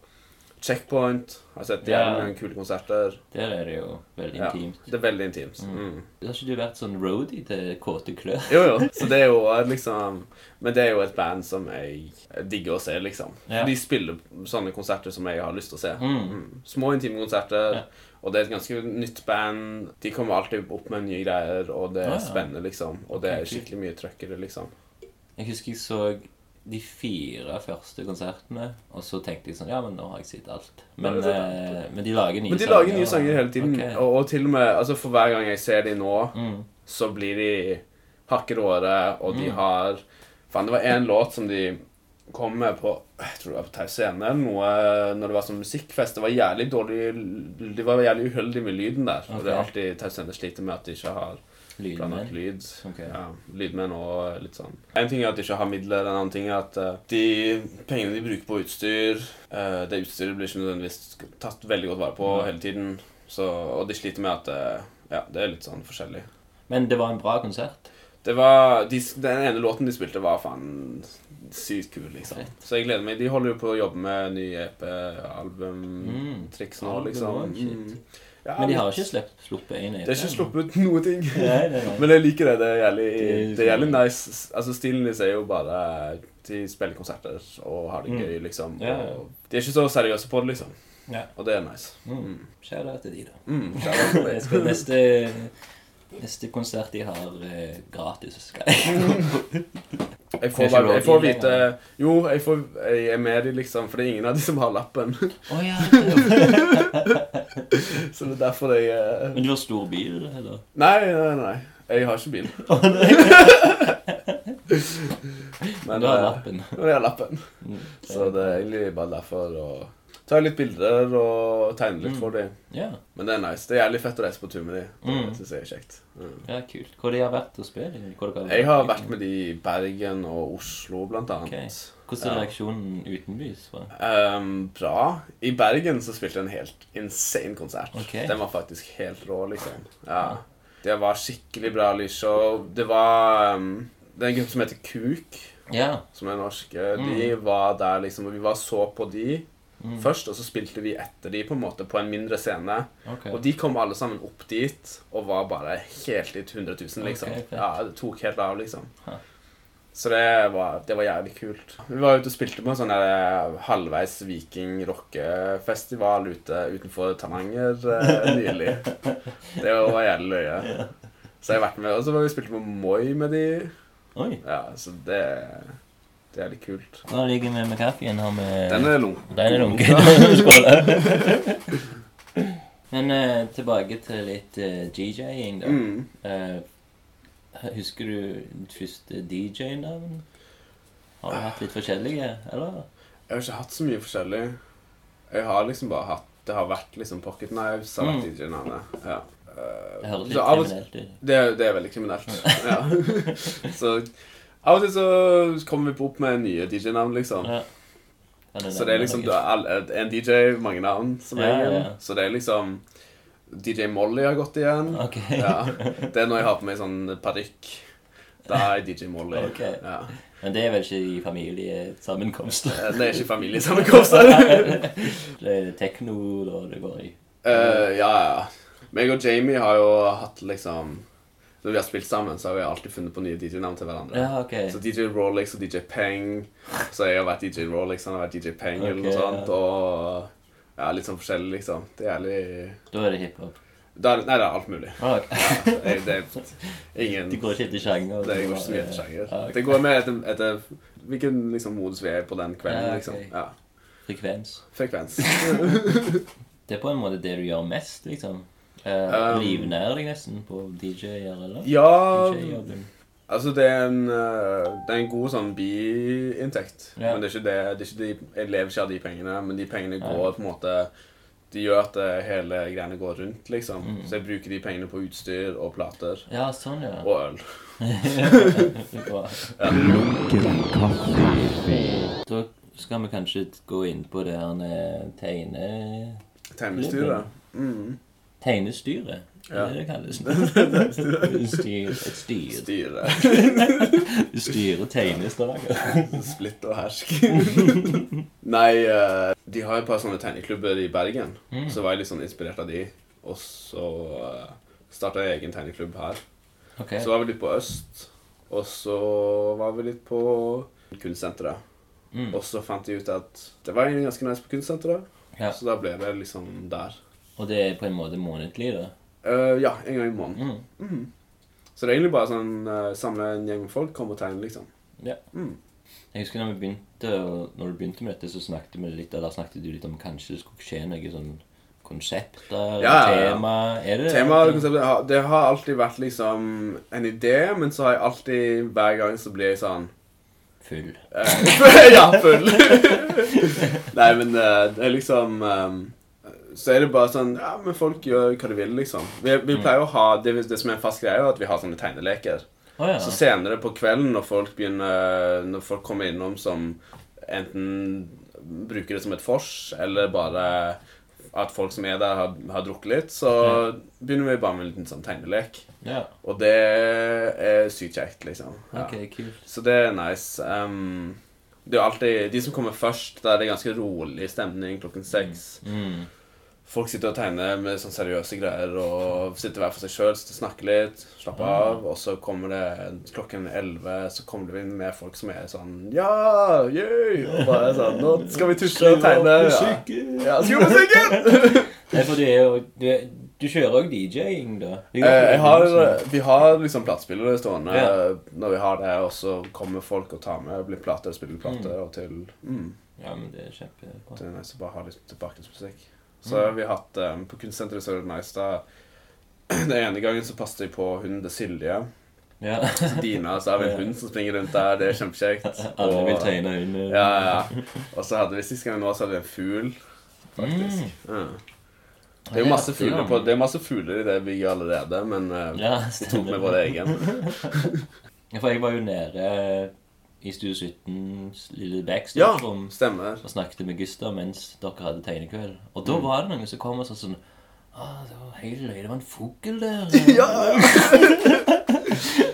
S3: Checkpoint. Jeg har sett de
S2: Mm. Ja.
S3: jævlig mange kule konserter.
S2: Der er det jo veldig
S3: Ja,
S2: intimt.
S3: det er veldig intimt. Mm.
S2: Har ikke du vært sånn roadie til Kåte Klør?
S3: Jo, jo. Så det er jo eh, liksom Men det er jo et band som jeg digger å se, liksom.
S2: Ja.
S3: De spiller sånne konserter som jeg har lyst til å se.
S2: Mm.
S3: Mm. Små, intime konserter.
S2: Ja.
S3: Og det er et ganske nytt band. De kommer alltid opp med nye greier, og det
S2: Ah, ja.
S3: er spennende, liksom. Og det er
S2: Ok, kult.
S3: skikkelig mye trøkk i det, liksom.
S2: Jeg husker jeg så de fire første konsertene, og så tenkte jeg sånn Ja, men nå har jeg sett alt. Men,
S3: Nå har du sett alt.
S2: eh, men de lager nye
S3: Men de lager nye
S2: da.
S3: sanger hele tiden.
S2: Ok.
S3: Og, og til og med altså For hver gang jeg ser de nå,
S2: Mm.
S3: så blir de hakket råere, og de har Faen, det var én låt som de kom med på Jeg tror det var på Taus Scene eller noe når det var sånn musikkfest. Det var jævlig dårlig l- De var jævlig uheldige med lyden der. Og det er
S2: Ok.
S3: alltid Taus Scene sliter med at de ikke har
S2: Lydmenn.
S3: planlagt lyd.
S2: Ok.
S3: Ja, lydmenn og litt sånn. En ting er at de ikke har midler, en annen ting er at eh, de pengene de bruker på utstyr eh, Det utstyret blir ikke nødvendigvis tatt veldig godt vare på hele tiden. Så, og de sliter med at eh, Ja, det er litt sånn forskjellig.
S2: Men det var en bra konsert.
S3: Det var, de, den ene låten de spilte, var faen sykt kul, liksom.
S2: Fett.
S3: Så jeg gleder meg. De holder jo på å jobbe med ny EP, album,
S2: Mm.
S3: triks nå,
S2: Album
S3: liksom.
S2: og shit.
S3: Mm. Ja,
S2: Men de har ikke sluppet, sluppet en
S3: Det er ikke sluppet ut
S2: *laughs*
S3: noen ting.
S2: Nei, nei, nei.
S3: Men jeg liker det. Det er jævlig,
S2: Det-
S3: det er jævlig nice. Altså, stilen deres er jo bare De spiller konserter og har det
S2: Mm.
S3: gøy, liksom.
S2: Ja, ja.
S3: Og de er ikke så seriøse på det, liksom.
S2: Ja.
S3: Og det er nice.
S2: Mm. Kjære til de, da.
S3: Mm, det er veldig
S2: Jeg skal
S3: nice.
S2: neste, neste konsert de har eh, gratis, så skal jeg.
S3: Jeg
S2: Det
S3: får,
S2: er ikke
S3: bare, jeg
S2: roadie
S3: får vite
S2: lenger.
S3: Jo, jeg, får, jeg er med de, liksom, for det er ingen av de som har lappen.
S2: Å *laughs* ja, det er jo-
S3: Så det er derfor jeg eh,
S2: Men du har stor bil, eller?
S3: Nei, nei, nei. Jeg har ikke bil.
S2: Men
S3: *laughs* Men
S2: du har
S3: eh,
S2: lappen.
S3: men jeg har lappen.
S2: Mm.
S3: Så det er egentlig bare derfor å ta litt bilder og tegne
S2: Mm.
S3: litt for dem.
S2: Ja,
S3: Men det er nice. Det er jævlig fett å reise på tur med dem.
S2: Mm.
S3: Det syns jeg er kjekt. Mm.
S2: ja, kult. Hvor de har vært og spilt? Hvor dere
S3: Jeg har vært med de i Bergen og Oslo, blant annet.
S2: Mm. Ok. Hvordan er reaksjonen utenbys? fra?
S3: Ehm, bra. I Bergen så spilte jeg en helt insane konsert.
S2: Ok.
S3: Den var faktisk helt rå, liksom. Ja. Det var skikkelig bra lysshow. Det var um, Det er en gruppe som heter Kuk,
S2: Ja.
S3: som er norske. De var der, liksom, og vi var så på de først, og så spilte vi etter de, på en måte, på en mindre scene.
S2: Ok.
S3: Og de kom alle sammen opp dit og var bare helt i 100 000, liksom.
S2: Ok, fett.
S3: ja, det tok helt av, liksom.
S2: Ja.
S3: Så det var, det var jævlig kult. Vi var ute og spilte på en sånn der halvveis viking-rockefestival ute utenfor Tananger eh, nylig.
S2: *laughs*
S3: Det var jævlig løye. Så jeg har vært med, og så var vi spilte på Moi med de.
S2: Oi.
S3: Ja, så det, det er litt kult.
S2: Hva ligger vi med kaffen her med
S3: Den er lung.
S2: Den er lunken. *laughs* Skål. Men eh, tilbake til litt eh, DJ-ing, da.
S3: Mm.
S2: Eh, husker du ditt første DJ-navn? Har du hatt litt forskjellige, eller?
S3: Jeg har ikke hatt så mye forskjellig. Jeg har liksom bare hatt Det har vært liksom Pocket Knives, har vært
S2: Mm.
S3: DJ-navnet. Ja.
S2: Det høres
S3: Så
S2: litt
S3: av og-
S2: kriminelt ut.
S3: Det, er- det er veldig kriminelt. Ja. *laughs* så av og til så kommer vi opp med nye DJ-navn, liksom.
S2: Ja. Kan du
S3: Så det er
S2: nevne
S3: liksom du
S2: noe?
S3: er all- en DJ, mange navn som
S2: Ja,
S3: regel.
S2: ja.
S3: Så det er liksom DJ Molly har gått igjen.
S2: Ok.
S3: Ja. Det er når jeg har på meg sånn parykk. Da er jeg DJ Molly.
S2: Ok.
S3: Ja. Eh,
S2: Men det er vel ikke i
S3: *laughs*
S2: familiesammenkomster?
S3: Det er ikke familiesammenkomster.
S2: *laughs* Det er tekno da det går i.
S3: Eh, ja, ja. Meg og Jamie har jo hatt liksom Når vi har spilt sammen, så har vi alltid funnet på nye DJ-navn til hverandre.
S2: Ja, ok.
S3: Så DJ Rolex og DJ Peng. Så jeg har vært DJ Rolex, han har vært DJ Peng eller
S2: Ok,
S3: noe sånt.
S2: ja.
S3: Og ja, litt sånn forskjellig, liksom. Det er jævlig
S2: Da er det hiphop.
S3: det er, Nei, det er alt mulig.
S2: Ah,
S3: *laughs*
S2: ok.
S3: Det, det er ingen
S2: Det går ikke etter sjanger?
S3: det går ikke så mye etter sjanger.
S2: Ja, ok.
S3: Det går mer etter, etter hvilken liksom, modus vi er på den
S2: Ja,
S3: kvelden.
S2: ok.
S3: liksom. Ja,
S2: Frekvens.
S3: Frekvens. *laughs*
S2: *laughs* Det er på en måte det du gjør mest, liksom. Eh,
S3: Um,
S2: livnærer deg nesten på DJ-er, eller?
S3: Ja
S2: DJ-jobben.
S3: Altså, det er en, eh, det er en god sånn biinntekt.
S2: Ja.
S3: Men det er ikke det, det er ikke de, jeg lever ikke av de pengene, men de pengene
S2: Nei.
S3: går på en måte De gjør at eh, hele greiene går rundt, liksom.
S2: Mm.
S3: Så jeg bruker de pengene på utstyr og plater.
S2: Ja, sånn, ja.
S3: Og øl.
S2: Bra.
S1: Lunken kaffe.
S2: Da skal vi kanskje gå inn på det her med tegne...
S3: Tegnestyret. Mm.
S2: tegnestyret.
S3: Ja.
S2: Er det det
S3: *laughs*
S2: *laughs* kalles? Styr, et styr.
S3: Styre.
S2: Styre tegnestaker.
S3: *laughs* Splitt og hersk. *laughs* Nei, eh, de har et par sånne tegneklubber i Bergen.
S2: Mm.
S3: Så var jeg litt sånn inspirert av de. Og så uh, starta jeg egen tegneklubb her.
S2: Ok.
S3: Så var vi litt på øst, og så var vi litt på kunstsenteret.
S2: Mm.
S3: Og så fant jeg ut at det var egentlig ganske nice på kunstsenteret,
S2: Ja.
S3: så da ble det liksom der.
S2: Og det er på en måte månedlig, da.
S3: Eh, ja, en gang i måneden.
S2: Mm.
S3: Så det er egentlig bare sånn eh, samle en gjeng med folk, komme og tegne, liksom.
S2: Ja.
S3: Mm.
S2: Jeg husker når vi begynte, og når du begynte med dette, så snakket vi litt, eller snakket du litt om kanskje det skulle skje noe sånn konsepter,
S3: Ja, ja, ja.
S2: tema Er det
S3: Temaet og konseptet har- det har alltid vært liksom en idé, men så har jeg alltid, hver gang så blir jeg sånn
S2: Full.
S3: Eh, ja, full. *laughs* Nei, men eh, det er liksom eh, Så er det bare sånn Ja, men folk gjør hva de vil, liksom. Vi,
S2: Mm.
S3: vi pleier å ha det, det som er en fast greie, er at vi har sånne tegneleker.
S2: Å ja.
S3: Så senere på kvelden, når folk begynner Når folk kommer innom som enten bruker det som et vors, eller bare at folk som er der, har, har drukket litt, så begynner vi bare med en liten sånn tegnelek.
S2: ja.
S3: Og det er sykt kjekt, liksom. Ja.
S2: Ok, kult.
S3: Så det er nice. Ehm, det er jo alltid De som kommer først, der er det ganske rolig stemning klokken seks.
S2: Mm.
S3: Folk sitter og tegner med sånn seriøse greier og sitter hver for seg sjøl, snakker litt, slapper
S2: Ah.
S3: av, og så kommer det klokken elleve, så kommer det inn med folk som er sånn Ja! Yay! Og bare sånn Nå skal vi tusle og tegne. Ja. Ja, skru på musikken!
S2: *laughs* Nei, for du er jo Du, er- du kjører òg DJ-ing, da? Du gjør
S3: Eh, Jeg har,
S2: det,
S3: vi har liksom platespillere stående
S2: Ja.
S3: når vi har det, og så kommer folk og tar med, blir plater, spiller plater, og til mm.
S2: liksom. Ja, men det er kjempebra.
S3: Det er nice å eh, bare ha litt bakgrunnsmusikk. Så har vi hatt eh, På Kunstsenteret så er det nice da *clears throat* Den ene gangen så passet jeg på hunden til Silje.
S2: Ja. *laughs*
S3: Dina, så har vi en hund som springer rundt der. Det er *laughs* kjempekjekt.
S2: Alle vil
S3: Og-
S2: tegne under
S3: Ja, ja. Og så hadde vi sist gang nå, så hadde vi en fugl, faktisk. Mm. Ja. Det er jo masse fugler på Det er masse fugler i det bygget allerede, men eh,
S2: Ja,
S3: vi *laughs* tok med
S2: stemmer.
S3: vår *laughs* egen.
S2: Ja, For jeg var jo nede i Stue 17s lille
S3: Ja,
S2: backstage-rom.
S3: stemmer. Mm.
S2: og snakket med Gustav mens dere hadde tegnekveld. Og da var det noen som kom og sa sånn Ah, det var helt løye. Det var en fugl der.
S3: *laughs* Ja!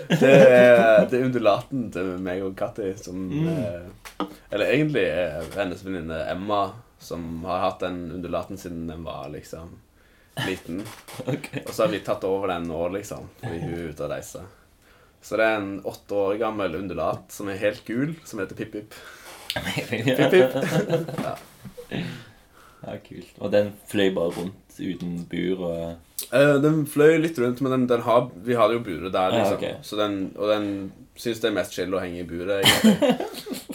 S3: det, er, det er undulaten til meg og Katti som eh, Eller egentlig er hennes venninne Emma, som har hatt den undulaten siden den var liksom liten.
S2: *laughs* Ok. *laughs*
S3: Og så har vi tatt over den nå, liksom, fordi hun er ute og reiser. Så det er en åtte år gammel undulat som er helt gul, som heter Pip-Pip.
S2: ja. ja, kult. Og den fløy bare rundt uten bur og
S3: Eh, den fløy litt rundt, men den, den har, vi hadde jo buret der,
S2: Ja,
S3: liksom.
S2: Ah, ok.
S3: Så den, og den syns det er mest chill å henge i buret. egentlig.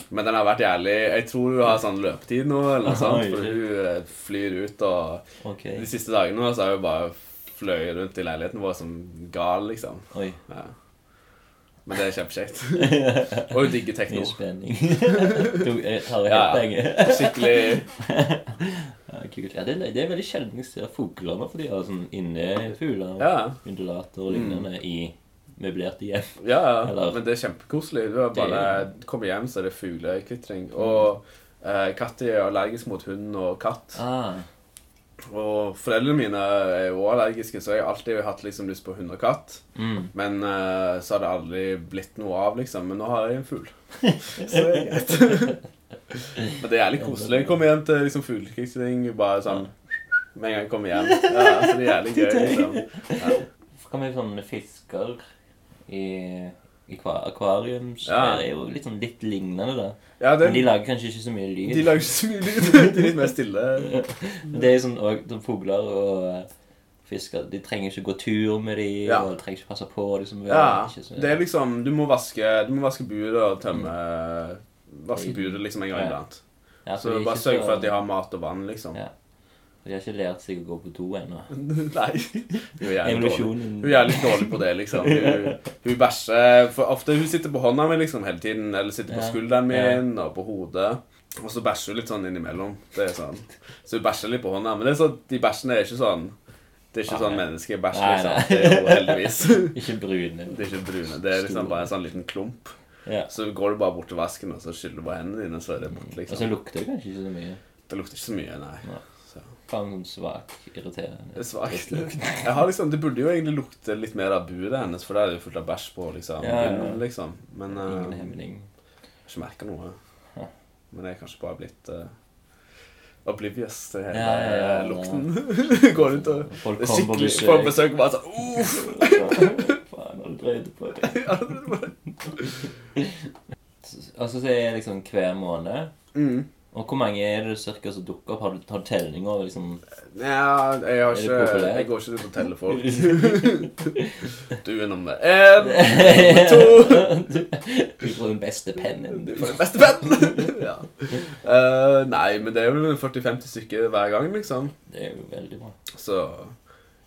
S3: men den har vært jævlig Jeg tror hun har sånn løpetid nå, eller noe sånt,
S2: Oi,
S3: for
S2: shit.
S3: hun eh, flyr ut, og
S2: Ok.
S3: de siste dagene nå, så har hun bare fløy rundt i leiligheten vår som gal, liksom.
S2: Oi.
S3: Ja. Men det er kjempekjekt.
S2: *laughs*
S3: og hun digger
S2: Mye
S3: tekno.
S2: spenning. *laughs* Du jeg tar det
S3: Ja.
S2: helt lenge.
S3: Skikkelig
S2: Ja, kult. Ja, det, er, det er veldig sjelden jeg ser fugler nå, for de har sånn innefugler og
S3: Ja, Mm.
S2: undulater og lignende i møblerte hjem.
S3: ja, ja.
S2: Eller-
S3: men det er kjempekoselig. Du har bare kommer hjem, så er det fuglekvitring. Og eh, Katti er allergisk mot hund og katt.
S2: Ah,
S3: Og foreldrene mine er jo også allergiske, så jeg har alltid hatt liksom lyst på hund og katt.
S2: mm.
S3: Men eh, så har det aldri blitt noe av, liksom. Men nå har jeg en fugl. *laughs* Så det er greit. *laughs* Men det er jævlig koselig. Jeg kommer hjem til liksom fuglekvitring bare sånn med en gang jeg kommer hjem. Ja, så *laughs* det er jævlig gøy, liksom. Ja.
S2: Så kan vi sånn fisker i, i kva- akvarium. så
S3: Ja.
S2: Det er jo litt sånn litt lignende, da.
S3: Ja, det,
S2: Men de lager kanskje ikke så mye lyd.
S3: de lager ikke så mye lyd. *laughs* De er litt mer stille.
S2: Men det er jo sånn og, sånn Fugler og eh, fisker De trenger ikke gå tur med de
S3: Ja.
S2: og de trenger ikke passe på. Liksom,
S3: Ja,
S2: ikke så-
S3: det er liksom Du må vaske, du må vaske buret og tømme Vaske buret liksom en gang
S2: Mm. Ja.
S3: iblant.
S2: Ja, for
S3: Så
S2: de er
S3: bare
S2: ikke
S3: sørg
S2: så-
S3: for at de har mat og vann, liksom.
S2: Ja. De har ikke lært seg å gå på do ennå.
S3: *laughs* Nei. Hun er jævlig dårlig.
S2: Evolusjonen
S3: Hun er jævlig dårlig på det, liksom. Hun, hun bæsjer for ofte Hun sitter på hånda mi liksom hele tiden, eller sitter på
S2: Ja.
S3: skulderen min og på hodet. Og så bæsjer hun litt sånn innimellom. Det er sånn. Så hun bæsjer litt på hånda. Men det er sånn, de bæsjene er ikke sånn Det er ikke sånn menneskebæsj,
S2: Nei,
S3: liksom.
S2: nei.
S3: Det er jo heldigvis.
S2: Ikke brune.
S3: Det er ikke brune. Det er liksom bare en sånn liten klump.
S2: Ja.
S3: Så går du bare bort til vasken og så skyller du bare hendene dine, så er det bort,
S2: Og så
S3: liksom.
S2: lukter det kanskje ikke så mye.
S3: Det lukter ikke så mye, nei.
S2: Nei.
S3: Så,
S2: Faen sånn svak,
S3: det
S2: irriterende.
S3: er svakt. Jeg har liksom, det burde jo egentlig lukte litt mer av buret hennes, for der er det jo fullt av bæsj på, liksom.
S2: Ja, ja, ja.
S3: bunnen, liksom. Men eh,
S2: Ingen
S3: jeg
S2: hemning.
S3: har ikke merka noe.
S2: Ja.
S3: Men jeg er kanskje bare blitt eh, oblivious til hele
S2: Ja, ja, ja,
S3: eh,
S2: ja.
S3: lukten. *laughs* Går rundt og
S2: Folk
S3: det er
S2: kommer på
S3: skikkelig
S2: besøk.
S3: Folk besøker bare sånn Uff!
S2: Faen, har du drevet på det?
S3: Ja, det er bare-
S2: Og så sier jeg liksom hver måned.
S3: Mm.
S2: Og hvor mange er det cirka som dukker opp? Har du tatt telling over liksom *laughs*
S3: Ja, jeg har
S2: det
S3: ikke
S2: populært?
S3: Jeg går ikke rundt og teller
S2: *laughs*
S3: folk. *laughs* Du er nummer én, nummer to
S2: Du får den beste pennen.
S3: Du får den beste pennen! *laughs* Ja. Eh, nei, men det er vel 40-50 stykker hver gang, liksom.
S2: Det er jo veldig bra.
S3: Så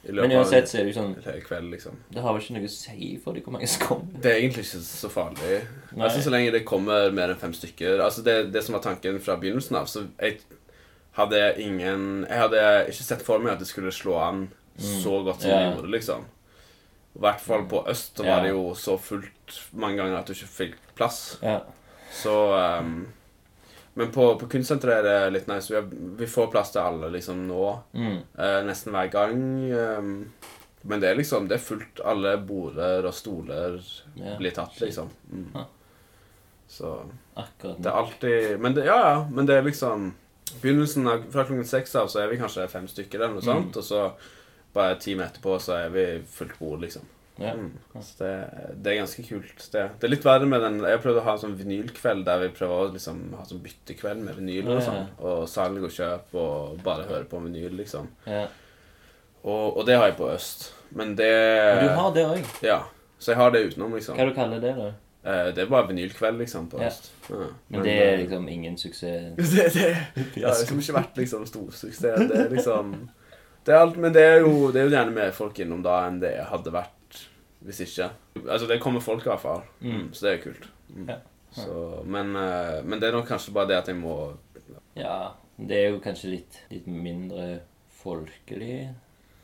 S3: i
S2: Men
S3: løpet av
S2: uansett
S3: en
S2: så er det jo sånn
S3: hel kveld, liksom.
S2: Det har vel ikke noe å si for deg hvor mange som kommer.
S3: Det er egentlig ikke så farlig.
S2: Nei.
S3: Altså, Så lenge det kommer mer enn fem stykker. Altså, det, det som var tanken fra begynnelsen av, så jeg hadde ingen Jeg hadde ikke sett for meg at det skulle slå an så godt som det
S2: Mm. Ja.
S3: gjorde, liksom. I hvert fall på øst så var
S2: Ja.
S3: det jo så fullt mange ganger at du ikke fikk plass.
S2: Ja.
S3: Så ehm, Men på, på kunstsenteret er det litt nice. Vi, har, vi får plass til alle liksom nå.
S2: Mm.
S3: Eh, nesten hver gang. ehm, men det er liksom Det er fullt. Alle border og stoler
S2: Ja.
S3: blir tatt, liksom. Mm.
S2: Ja.
S3: Så
S2: Akkurat
S3: det er
S2: nå.
S3: alltid Men det, ja, ja. Men det er liksom Begynnelsen av, Fra klokken seks av så er vi kanskje fem stykker, eller
S2: Mm.
S3: noe sånt. Og så bare en time etterpå så er vi fullt bord, liksom.
S2: Ja.
S3: Mm. Så det, det er ganske kult. Det, det er litt verre med den Jeg prøvde å ha en sånn vinylkveld der vi prøver å liksom ha sånn byttekveld med vinyl og
S2: Ja, ja.
S3: sånn. Og salg og kjøp og bare høre på vinyl, liksom.
S2: ja.
S3: Og, og det har jeg på øst. Men det
S2: Men du har det òg.
S3: Ja. Så jeg har det utenom, liksom.
S2: Hva du kaller du det, da?
S3: Eh, det er bare vinylkveld, liksom, på
S2: Ja.
S3: øst. Ja.
S2: Men det er
S3: eh,
S2: liksom ingen suksess.
S3: *laughs* det, det, det har liksom ikke vært liksom storsuksess. Det er liksom det er alt, Men det er, jo, det er jo gjerne mer folk innom da enn det hadde vært hvis ikke. Altså, det kommer folk i hvert fall,
S2: Mm.
S3: så det er kult. Mm.
S2: Ja.
S3: Så, men, eh, men det er nok kanskje bare det at jeg må
S2: Ja, det er jo kanskje litt, litt mindre folkelig,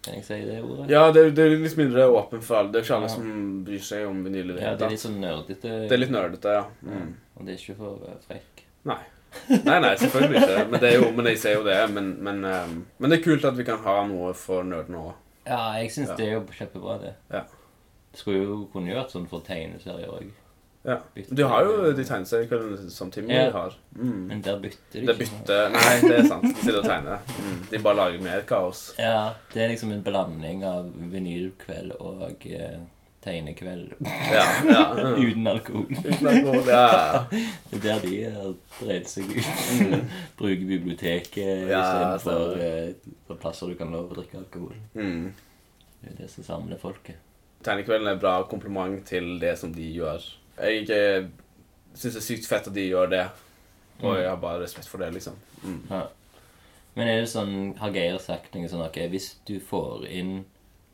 S2: kan jeg si det ordet?
S3: Ja, det, er- det er litt mindre åpen for alle. Det er ikke alle
S2: Ja.
S3: som bryr seg om vinyl i det
S2: Ja,
S3: hele
S2: det er litt
S3: tatt.
S2: sånn nerdete.
S3: Det er litt nerdete, ja. Mm.
S2: Og det er ikke for eh, frekk.
S3: Nei. Nei, nei, selvfølgelig ikke. Men, det er jo, men jeg ser jo det. Men, men, ehm, men det er kult at vi kan ha noe for nerdene òg.
S2: Ja, jeg syns
S3: Ja.
S2: det er jo kjempebra, det.
S3: Ja.
S2: Det skulle jo kunne gjort sånn for tegneserier òg,
S3: Ja. Du har jo de tegneseriene som Timmy
S2: Ja.
S3: har. Mm.
S2: men der bytter de
S3: Det bytter Nei, det er sant. De sitter og tegner. Mm. De bare lager mer kaos.
S2: Ja, det er liksom en blanding av vinylkveld og eh, tegnekveld
S3: Ja, ja. Mm.
S2: *laughs* uten alkohol.
S3: Uten alkohol, *laughs* ja.
S2: Det er der de har dreid seg ut. *laughs* Bruker biblioteket
S3: Mm. Ja,
S2: istedenfor
S3: stemmer.
S2: eh, for plasser du kan lov å drikke alkohol.
S3: Mm.
S2: Det er det som samler folket.
S3: Tegnekvelden er et bra kompliment til det som de gjør. Jeg eh, syns det er sykt fett at de gjør det,
S2: Mm.
S3: og jeg har bare respekt for det, liksom. Mm.
S2: Men er det sånn, har Geir sagt noe sånn ok, hvis du får inn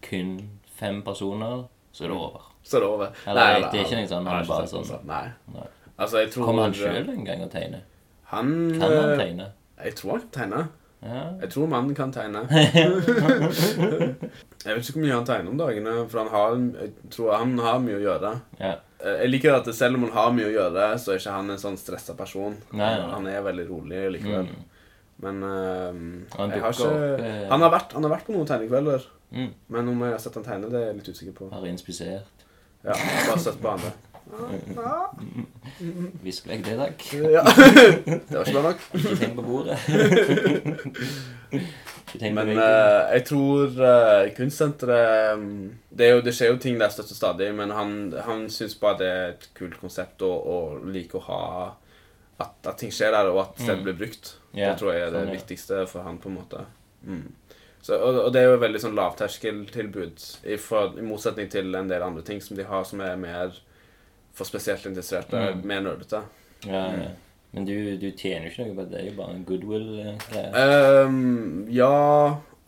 S2: kun fem personer, så er det over?
S3: Så er det over.
S2: Eller, det er ikke noe sånn, han
S3: har
S2: er bare
S3: ikke sagt noe
S2: sånn. Nei.
S3: Nei. Altså, jeg tror
S2: Kommer han sjøl en gang og tegner?
S3: Han,
S2: Kan han
S3: eh,
S2: tegne?
S3: Jeg tror han tegner.
S2: Ja.
S3: Jeg tror mannen
S2: *laughs*
S3: kan tegne. jeg vet ikke hvor mye han tegner om dagene, for han har, jeg tror han har mye å gjøre.
S2: ja.
S3: Eh, Jeg liker at selv om han har mye å gjøre, så er ikke han en sånn stressa person.
S2: Nei, nei.
S3: Han er veldig rolig likevel.
S2: Mm.
S3: Men eh,
S2: Han
S3: jeg har
S2: dukker opp,
S3: ikke
S2: eh.
S3: han har, vært, han har vært på noen tegnekvelder,
S2: Mm.
S3: men om jeg har sett han tegne, det er jeg litt usikker på.
S2: Bare inspisert.
S3: Ja, bare sett på andre.
S2: Visk vekk det,
S3: *laughs*
S2: takk.
S3: Ja. det var ikke bra nok.
S2: Ikke tenk på bordet. Ikke tenk på
S3: Men
S2: veggen.
S3: eh, jeg tror eh, kunstsenteret mm, det, er jo, det skjer jo ting der støtt og stadig, men han, han syns bare det er et kult konsept og, og liker å ha at, at ting skjer der, og at stedet blir brukt.
S2: Mm. Ja,
S3: det tror jeg er det
S2: sånn, ja.
S3: viktigste for han, på en måte. Mm. Så, og, og det er jo et veldig sånn lavterskeltilbud, i, for, i motsetning til en del andre ting som de har, som er mer for spesielt interesserte,
S2: Mm.
S3: mer nerdete.
S2: Ja, ja. Men du, du tjener jo ikke noe på det. Det er jo bare en
S3: Eh,
S2: goodwill-greie.
S3: Ehm, ja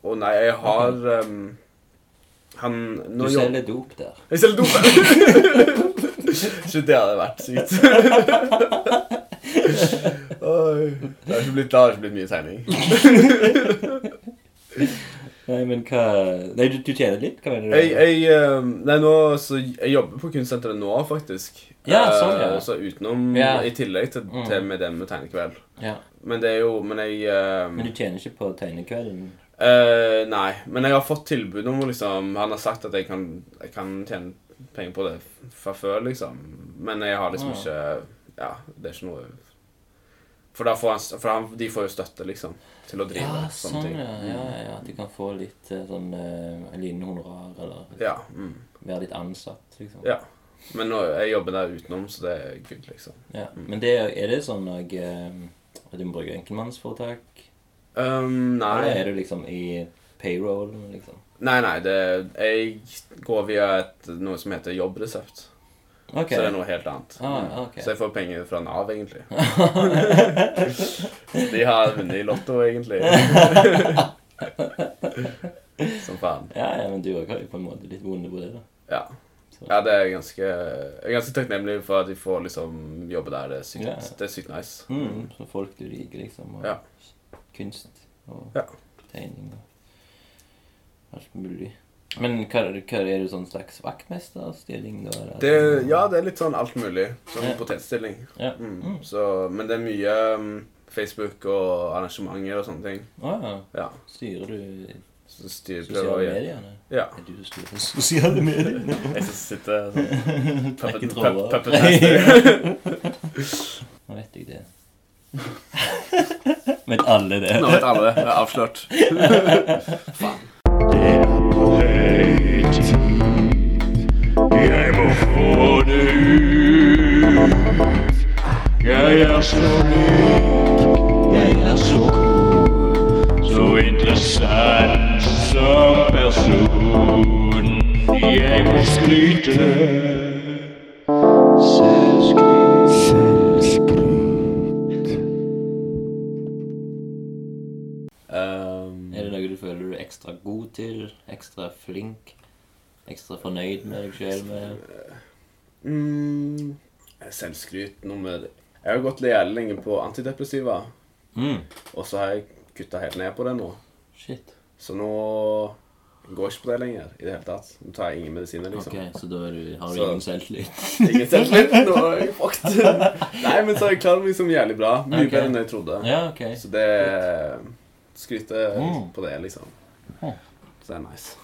S3: og nei. Jeg har ehm, Han
S2: Du
S3: nå jobb-
S2: selger dop der.
S3: Jeg selger dop! Shit, det hadde vært sykt. Oi. Det har ikke blitt, det har ikke blitt mye tegning.
S2: Nei, men hva Nei, du, du tjener litt? Hva mener du?
S3: Jeg, jeg, ehm, nei, nå, så jeg jobber på kunstsenteret nå, faktisk.
S2: Ja, sånn, ja.
S3: Eh, Så utenom,
S2: Ja.
S3: i tillegg til,
S2: Mm.
S3: til med det med tegnekveld.
S2: Ja.
S3: Men det er jo Men jeg ehm,
S2: Men du tjener ikke på tegnekvelden?
S3: Eh, nei, men jeg har fått tilbud om å liksom Han har sagt at jeg kan, jeg kan tjene penger på det fra før, liksom. Men jeg har liksom
S2: Ah.
S3: ikke Ja, det er ikke noe For, da får han, for han, de får jo støtte, liksom, til å drive
S2: Ja,
S3: sånne
S2: sånn,
S3: ting. Mm.
S2: ja. ja, ja. At du kan få litt eh, sånn eh, en liten honorar, eller
S3: Ja, mm,
S2: være litt ansatt, liksom.
S3: ja. Men nå, jeg jobber der utenom, så det er good, liksom.
S2: Ja. Men det, er- er det sånn at, eh, at du må bruke enkeltmannsforetak?
S3: Um,
S2: Eller er
S3: nei.
S2: du liksom i payrollen, liksom?
S3: nei, nei, det Jeg går via et, noe som heter jobbresept.
S2: Ok.
S3: Så det er noe helt annet.
S2: Ah, ok.
S3: Så jeg får penger fra Nav, egentlig.
S2: *laughs*
S3: De har vunnet i Lotto,
S2: *laughs*
S3: egentlig. Som faen.
S2: Ja, ja, men du òg har jo på en måte litt vonde på det, da.
S3: Ja. ja, det er ganske Jeg er ganske takknemlig for at de får liksom jobbe der. Det er sykt,
S2: Ja.
S3: det er sykt nice.
S2: Mm. Så folk du liker, liksom. Og
S3: Ja.
S2: kunst og
S3: Ja.
S2: tegning og alt mulig. Men hva, hva er du sånn slags vaktmesterstilling, da? eller?
S3: Det, ja, det er litt sånn alt mulig. Sånn
S2: Ja.
S3: potetstilling.
S2: Ja.
S3: Mm. Så, men det er mye mm, Facebook og arrangementer og sånne ting.
S2: Å ja.
S3: Ja.
S2: Styrer du
S3: Så styrer
S2: sosiale mediene?
S3: Ja.
S2: Er du som styrer sosiale medier?
S3: Jeg som
S2: *laughs*
S3: sitter sånn
S2: Trekker
S3: puppet-
S2: tråder.
S3: pup- puppetmaster.
S2: Nå vet jeg det. *laughs* Vet alle det?
S3: Nå vet alle det. Det er avslørt.
S1: Det er på høy tid. Jeg må få det ut. Jeg er så rik, jeg er så cool, så interessant som person. Jeg må skryte. Selvskryt. Selvskryt.
S3: Um,
S2: Er det noe du føler du er ekstra god til? Ekstra flink? Ekstra fornøyd med deg sjøl med?
S3: Mm, selvskryt nummer Jeg har gått jævlig lenge på antidepressiva,
S2: Mm.
S3: og så har jeg kutta helt ned på det nå.
S2: Shit.
S3: Så nå Går ikke på det lenger i det hele tatt. Nå tar jeg ingen medisiner, liksom.
S2: Ok, Så da er du, har du
S3: Så-
S2: ingen selvtillit?
S3: *laughs* Ingen selvtillit. Nå
S2: *laughs*
S3: er jeg fucked. Nei, men så har jeg klart meg liksom jævlig bra. Mye
S2: Ok.
S3: bedre enn jeg trodde.
S2: Ja, ok.
S3: Så det Skryte
S2: Mm.
S3: på det, liksom.
S2: Mm.
S3: Så det er nice.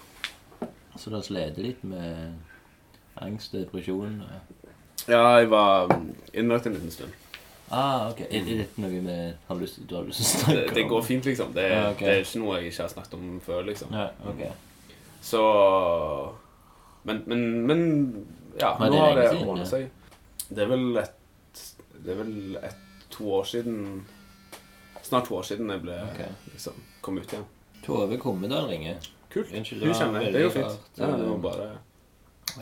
S2: Så du har slitt litt med angst, depresjon og
S3: Ja, jeg var innlagt en liten stund.
S2: Ah, ok. Er det dette noe med, har du, lyst, du har lyst til å snakke *laughs*
S3: Det, det går fint, liksom. Det,
S2: Ja, ok.
S3: det er ikke noe jeg ikke har snakket om før, liksom.
S2: Ja, ok.
S3: Så Men, men, men ja,
S2: Men det er
S3: nå har det
S2: lenge siden,
S3: ordnet
S2: ja.
S3: seg. Det er vel et Det er vel et, to år siden Snart to år siden jeg ble
S2: Ok.
S3: liksom, kom ut igjen.
S2: Tove Kommedal ringer.
S3: Kult. Hun
S2: Unnskyld, det var
S3: kjenner jeg. Det er jo
S2: veldig
S3: fint.
S2: rart.
S3: Ja, det var bare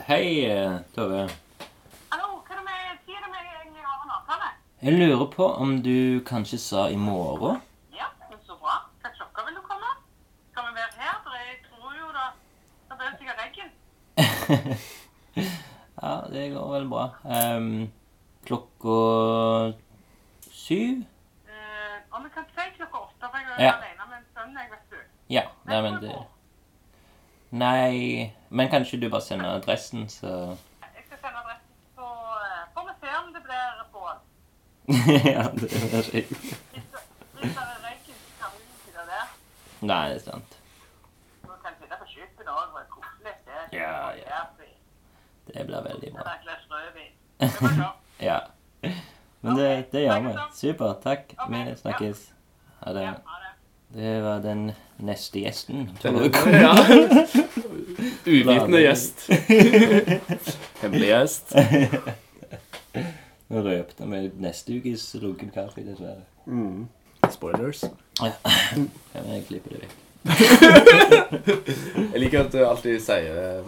S2: Hei, eh, Tove.
S5: Hallo, hva er det med, hva er det med egentlig har en avtale?
S2: Jeg lurer på om du kanskje sa i morgen?
S5: Ja, men så bra. Hva klokka vil du komme? Skal vi være her? For jeg tror jo da, da blir det sikkert regn.
S2: Ja, det går vel bra. Ehm, klokka syv?
S5: Eh, om vi kan si klokka åtte, for jeg er
S2: Ja.
S5: alene med en sønn, jeg vet du.
S2: Ja. Nei, men det Nei Men kanskje du bare sender adressen, så *laughs*
S5: Jeg skal sende adressen, så eh, får vi se om det blir bål.
S2: Ja, det er skikkelig.
S5: Hvis det hvis det er regn, så kan vi ikke sitte der.
S2: Nei, det er sant.
S5: Vi kan sitte på kjøkken også, og koke litt. Det er
S2: Ja, ja.
S5: kaffe,
S2: Det blir veldig
S5: Det
S2: bra.
S5: er et glass
S2: *laughs*
S5: rødvin. Det var bra.
S2: Ja. Men det, det gjør vi. Supert. Takk. Vi
S5: Ok,
S2: snakkes. Ha det.
S5: Ja, ha det.
S2: Det var den neste gjesten.
S3: *laughs* ja. Uvitende gjest. Hemmelig gjest.
S2: Nå røpte vi neste ukes lunken kaffe, dessverre.
S3: Spoilers.
S2: Ja, men jeg klipper det vekk.
S3: Jeg liker at du alltid sier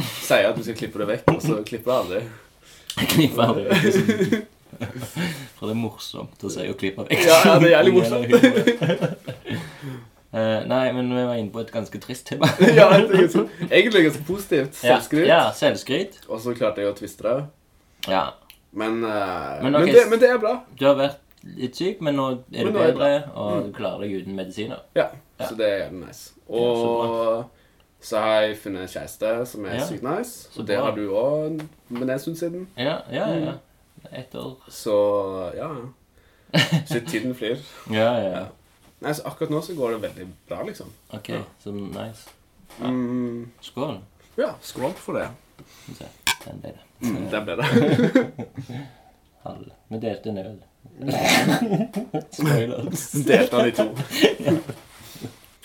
S3: Sier at du skal klippe det vekk, og så klipper du aldri.
S2: Jeg klipper aldri vekk. liksom. For det er morsomt å si å klippe vekk.
S3: Ja, ja, det er jævlig morsomt.
S2: Det gjelder humor. Eh, nei, men vi var inne på et ganske trist tema.
S3: Ja, det er ganske, *laughs* egentlig ganske positivt. *laughs* Selvskryt.
S2: Ja, ja, selvskryt.
S3: Og så klarte jeg å tviste det.
S2: Ja.
S3: Men, eh,
S2: Men
S3: men,
S2: ok,
S3: det,
S2: s-
S3: men det er bra.
S2: Du har vært litt syk, men nå er
S3: Men
S2: du
S3: nå er det Mm.
S2: bedre, og du klarer deg uten medisiner.
S3: Ja,
S2: Ja.
S3: Så det er jævlig nice.
S2: Ja, så
S3: Og så har jeg funnet en kjæreste som er
S2: Ja.
S3: sykt nice.
S2: Så
S3: Og det
S2: bra.
S3: har du òg, men det er en stund siden.
S2: Ja, ja, ja. Mm. Ett år.
S3: Så ja.
S2: *laughs*
S3: Shit, tiden flyr.
S2: Ja, ja.
S3: Nei, så Akkurat nå så går det veldig bra, liksom.
S2: Ok, så nice.
S3: Mm,
S2: Skål.
S3: ja, skål for det.
S2: Skal vi se. Den ble det.
S3: Mm, der ble det. *laughs*
S2: Halv. Vi delte en øl. Spoilers.
S3: Delte han i to.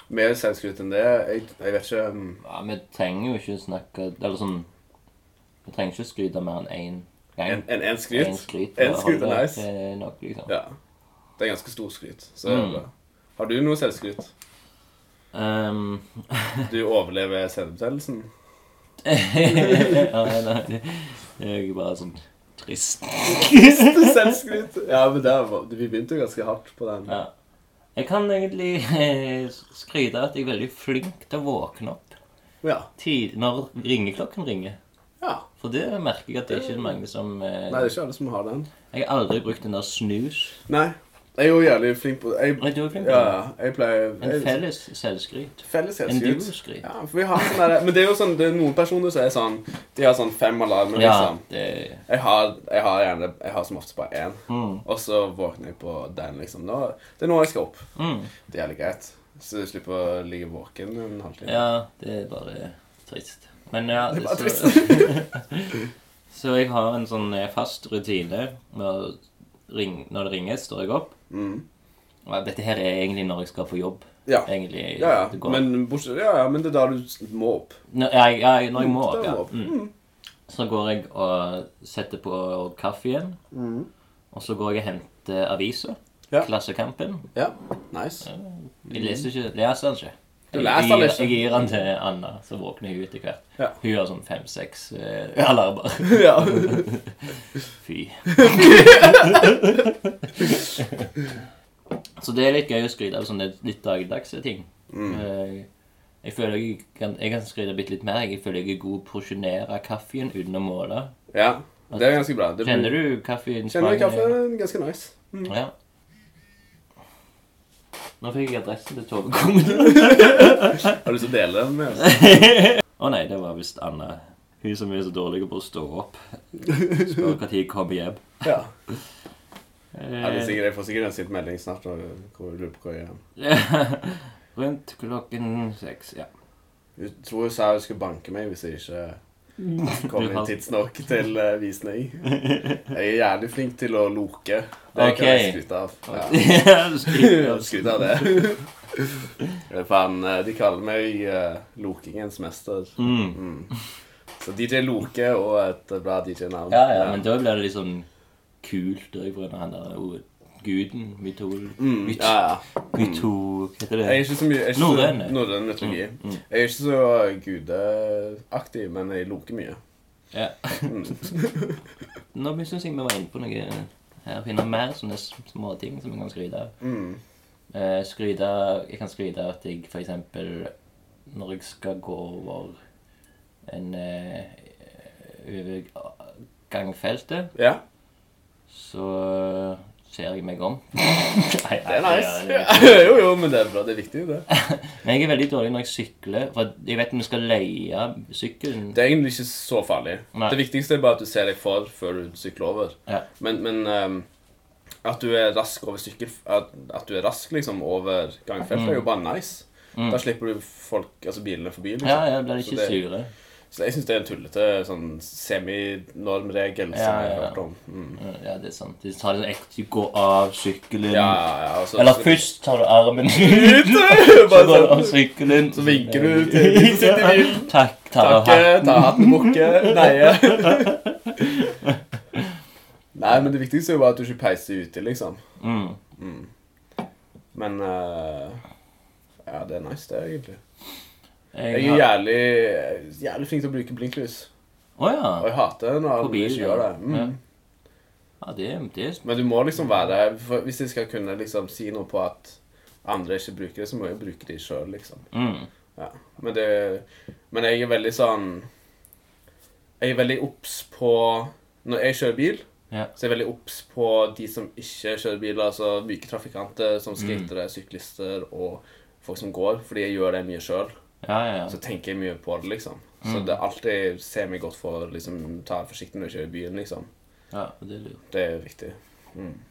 S3: Mer selvskryt enn det jeg, jeg vet ikke mm,
S2: Ja, vi trenger jo ikke snakke Eller sånn Vi trenger ikke skryte mer enn én gang.
S3: En, en, en skryt?
S2: En skryt.
S3: En
S2: da
S3: skryt er
S2: holder.
S3: nice.
S2: Det er nok, liksom.
S3: Ja. Det er ganske stor skryt. Så det er
S2: Mm.
S3: bra. Har du noe selvskryt?
S2: Ehm,
S3: Du overlever senebetennelsen?
S2: *laughs* ja, *laughs* nei, det det er jo bare sånn trist.
S3: Selvskryt! Ja, men det var, vi begynte jo ganske hardt på den.
S2: Ja. Jeg kan egentlig eh, skryte av at jeg er veldig flink til å våkne opp
S3: Ja.
S2: tid når ringeklokken ringer.
S3: ja.
S2: For det merker jeg at det er ikke mange som eh,
S3: Nei, det er ikke alle som har den.
S2: Jeg har aldri brukt den der snus.
S3: Nei. Jeg er jo jævlig flink på jeg,
S2: Nei, du er flink på
S3: ja,
S2: det.
S3: ja, jeg pleier
S2: En
S3: jeg-
S2: felles selvskryt.
S3: Felles
S2: En
S3: selvskryt.
S2: duoskryt.
S3: Ja, for vi har sånn der, men det er jo sånn, det er noen personer som er sånn De har sånn fem alarmer,
S2: Ja,
S3: liksom.
S2: det
S3: Jeg har, jeg har gjerne Jeg har som oftest bare én.
S2: Mm.
S3: Og så våkner jeg på den, liksom. Nå, det er nå jeg skal opp.
S2: Mm.
S3: Det er jævlig greit. Så du slipper å ligge våken en halvtime.
S2: Ja, det er bare trist. Men ja,
S3: Det er bare
S2: så, *laughs* så jeg har en sånn eh, fast rutine. Når, ring, når det ringer, står jeg opp.
S3: Mm.
S2: Ja, Dette her er egentlig når jeg skal på jobb.
S3: Ja.
S2: Egentlig,
S3: Ja, ja.
S2: det går-
S3: Men, bortsett, ja, ja, men det er da du s- må opp.
S2: Når, ja, jeg- ja, jeg- når jeg må
S3: Da
S2: opp, ja.
S3: må opp.
S2: Mm. Så går jeg og setter på kaffe igjen. Og så går jeg og henter aviser.
S3: Mm. Ja.
S2: Klassekampen.
S3: Ja, nice.
S2: Jeg leser ikke, leser den ikke.
S3: Du leser den ikke?
S2: Jeg gir den til Anna, så våkner hun etter hvert.
S3: Ja.
S2: Hun har sånn fem-seks eh, *laughs* alarmer.
S3: *laughs* Ja.
S2: Fy. så det er litt gøy å skryte av sånne litt dagligdagse ting. Eh, Jeg føler jeg kan, jeg kan skryte bitte litt mer. Jeg føler jeg er god på å sjonere kaffen uten å måle.
S3: ja. Det er ganske bra. Det blir-
S2: Kjenner du kaffen?
S3: Kjenner du kaffen? Ganske nice.
S2: Ja. Nå fikk jeg adressen til Tove kommune.
S3: Har du lyst til å dele den med
S2: *laughs*
S3: oss?
S2: Å nei, det var visst Anna. Hun som er så dårlig på å stå opp. Spør når jeg kommer hjem. *laughs*
S3: Ja. Ja, det er
S2: Eh,
S3: sikkert, jeg får sikkert en sitt melding snart og hvor- lurer på hvor jeg er.
S2: Rundt klokken seks, ja. *laughs*
S3: Hun tror hun sa hun skulle banke meg hvis jeg ikke kom
S2: Du
S3: inn
S2: har-
S3: tidsnok til eh,
S2: *laughs*
S3: visning. Jeg er jævlig flink til å loke. Det kan jeg
S2: Ok.
S3: skryte av. Ja.
S2: Ja, du skriver.
S3: Skryte av
S2: *laughs*
S3: det. Jeg er Fan, eh, de kaller meg eh, lokingens mester.
S2: Mm.
S3: Mm. Så DJ Loke og et eh, bra DJ-navn.
S2: ja, ja, men da blir det liksom kult òg pga. han der oh, guden myto...
S3: Mm,
S2: myt-
S3: ja, ja.
S2: Myto... Hva heter
S3: Jeg er
S2: det?
S3: ikke så mye jeg er ikke så-
S2: Norrøn. eh.
S3: Norrøn mytologi.
S2: mm.
S3: Jeg er ikke så gudeaktiv, men jeg loker mye.
S2: Ja. *laughs* Nå syns jeg vi var inne på noe eh, her. Finne mer sånne s- små ting som jeg kan skryte av.
S3: Mm.
S2: Eh, skryte Jeg kan skryte av at jeg for eksempel når jeg skal gå over en eh, over gangfeltet,
S3: Ja.
S2: så ser jeg meg om. *laughs*
S3: Det er nice. *laughs* jo, jo, men det er bra. Det er viktig, det.
S2: Men jeg er veldig dårlig når jeg sykler, for jeg vet vi skal leie sykkelen.
S3: Det er egentlig ikke så farlig.
S2: Nei.
S3: Det viktigste er bare at du ser deg for før du sykler over.
S2: Ja.
S3: Men, men ehm, at du er rask over sykkel... At, at du er rask liksom over gangfelt, er jo bare nice. Da slipper du folk, altså bilene forbi. liksom.
S2: Mm. Ja, ja, blir de
S3: Så
S2: ikke sure.
S3: Så jeg syns det er en tullete sånn
S2: Ja,
S3: seminormregel som jeg
S2: ja,
S3: har
S2: ja.
S3: hørt om. Mm.
S2: Eh, Ja, det er sant. De tar liksom ekte gå av sykkelen.
S3: Ja, ja, ja. og så-
S2: Eller
S3: så-
S2: først tar du armen ut, så
S3: *laughs*
S2: går
S3: Bare
S2: du
S3: sånn.
S2: av sykkelen.
S3: Så vinker du
S2: *laughs*
S3: til de som sitter i bilen.
S2: Takk, ta av
S3: Takke,
S2: her.
S3: ta hatten, bukke, neie. *laughs* Nei, men det viktigste er jo bare at du ikke peiser ute, liksom. Mm.
S2: Mm.
S3: Men eh, Ja, det er nice, det, egentlig.
S2: Jeg
S3: Jeg er
S2: har...
S3: jævlig, jævlig flink til å bruke blinklys.
S2: Å
S3: Og
S2: ja.
S3: jeg hater når
S2: På
S3: alle
S2: bilen,
S3: ikke gjør det. Mm.
S2: ja. ja. Det er det. er-
S3: Men du må liksom være for Hvis jeg skal kunne liksom si noe på at andre ikke bruker det, så må jeg bruke det sjøl, liksom.
S2: Mm.
S3: Ja. Men, det, men jeg er veldig sånn Jeg er veldig obs på Når jeg kjører bil,
S2: Ja.
S3: så er jeg veldig obs på de som ikke kjører bil, altså myke trafikanter
S2: Mm.
S3: som skatere, syklister og folk som går, fordi jeg gjør det mye sjøl.
S2: Ja, ja, Mm. ja.
S3: Så tenker jeg mye på det, liksom. Så det er alltid se meg godt for liksom, ta forsiktig når jeg kjører i byen, liksom.
S2: ja. Det er lurt.
S3: Det er viktig.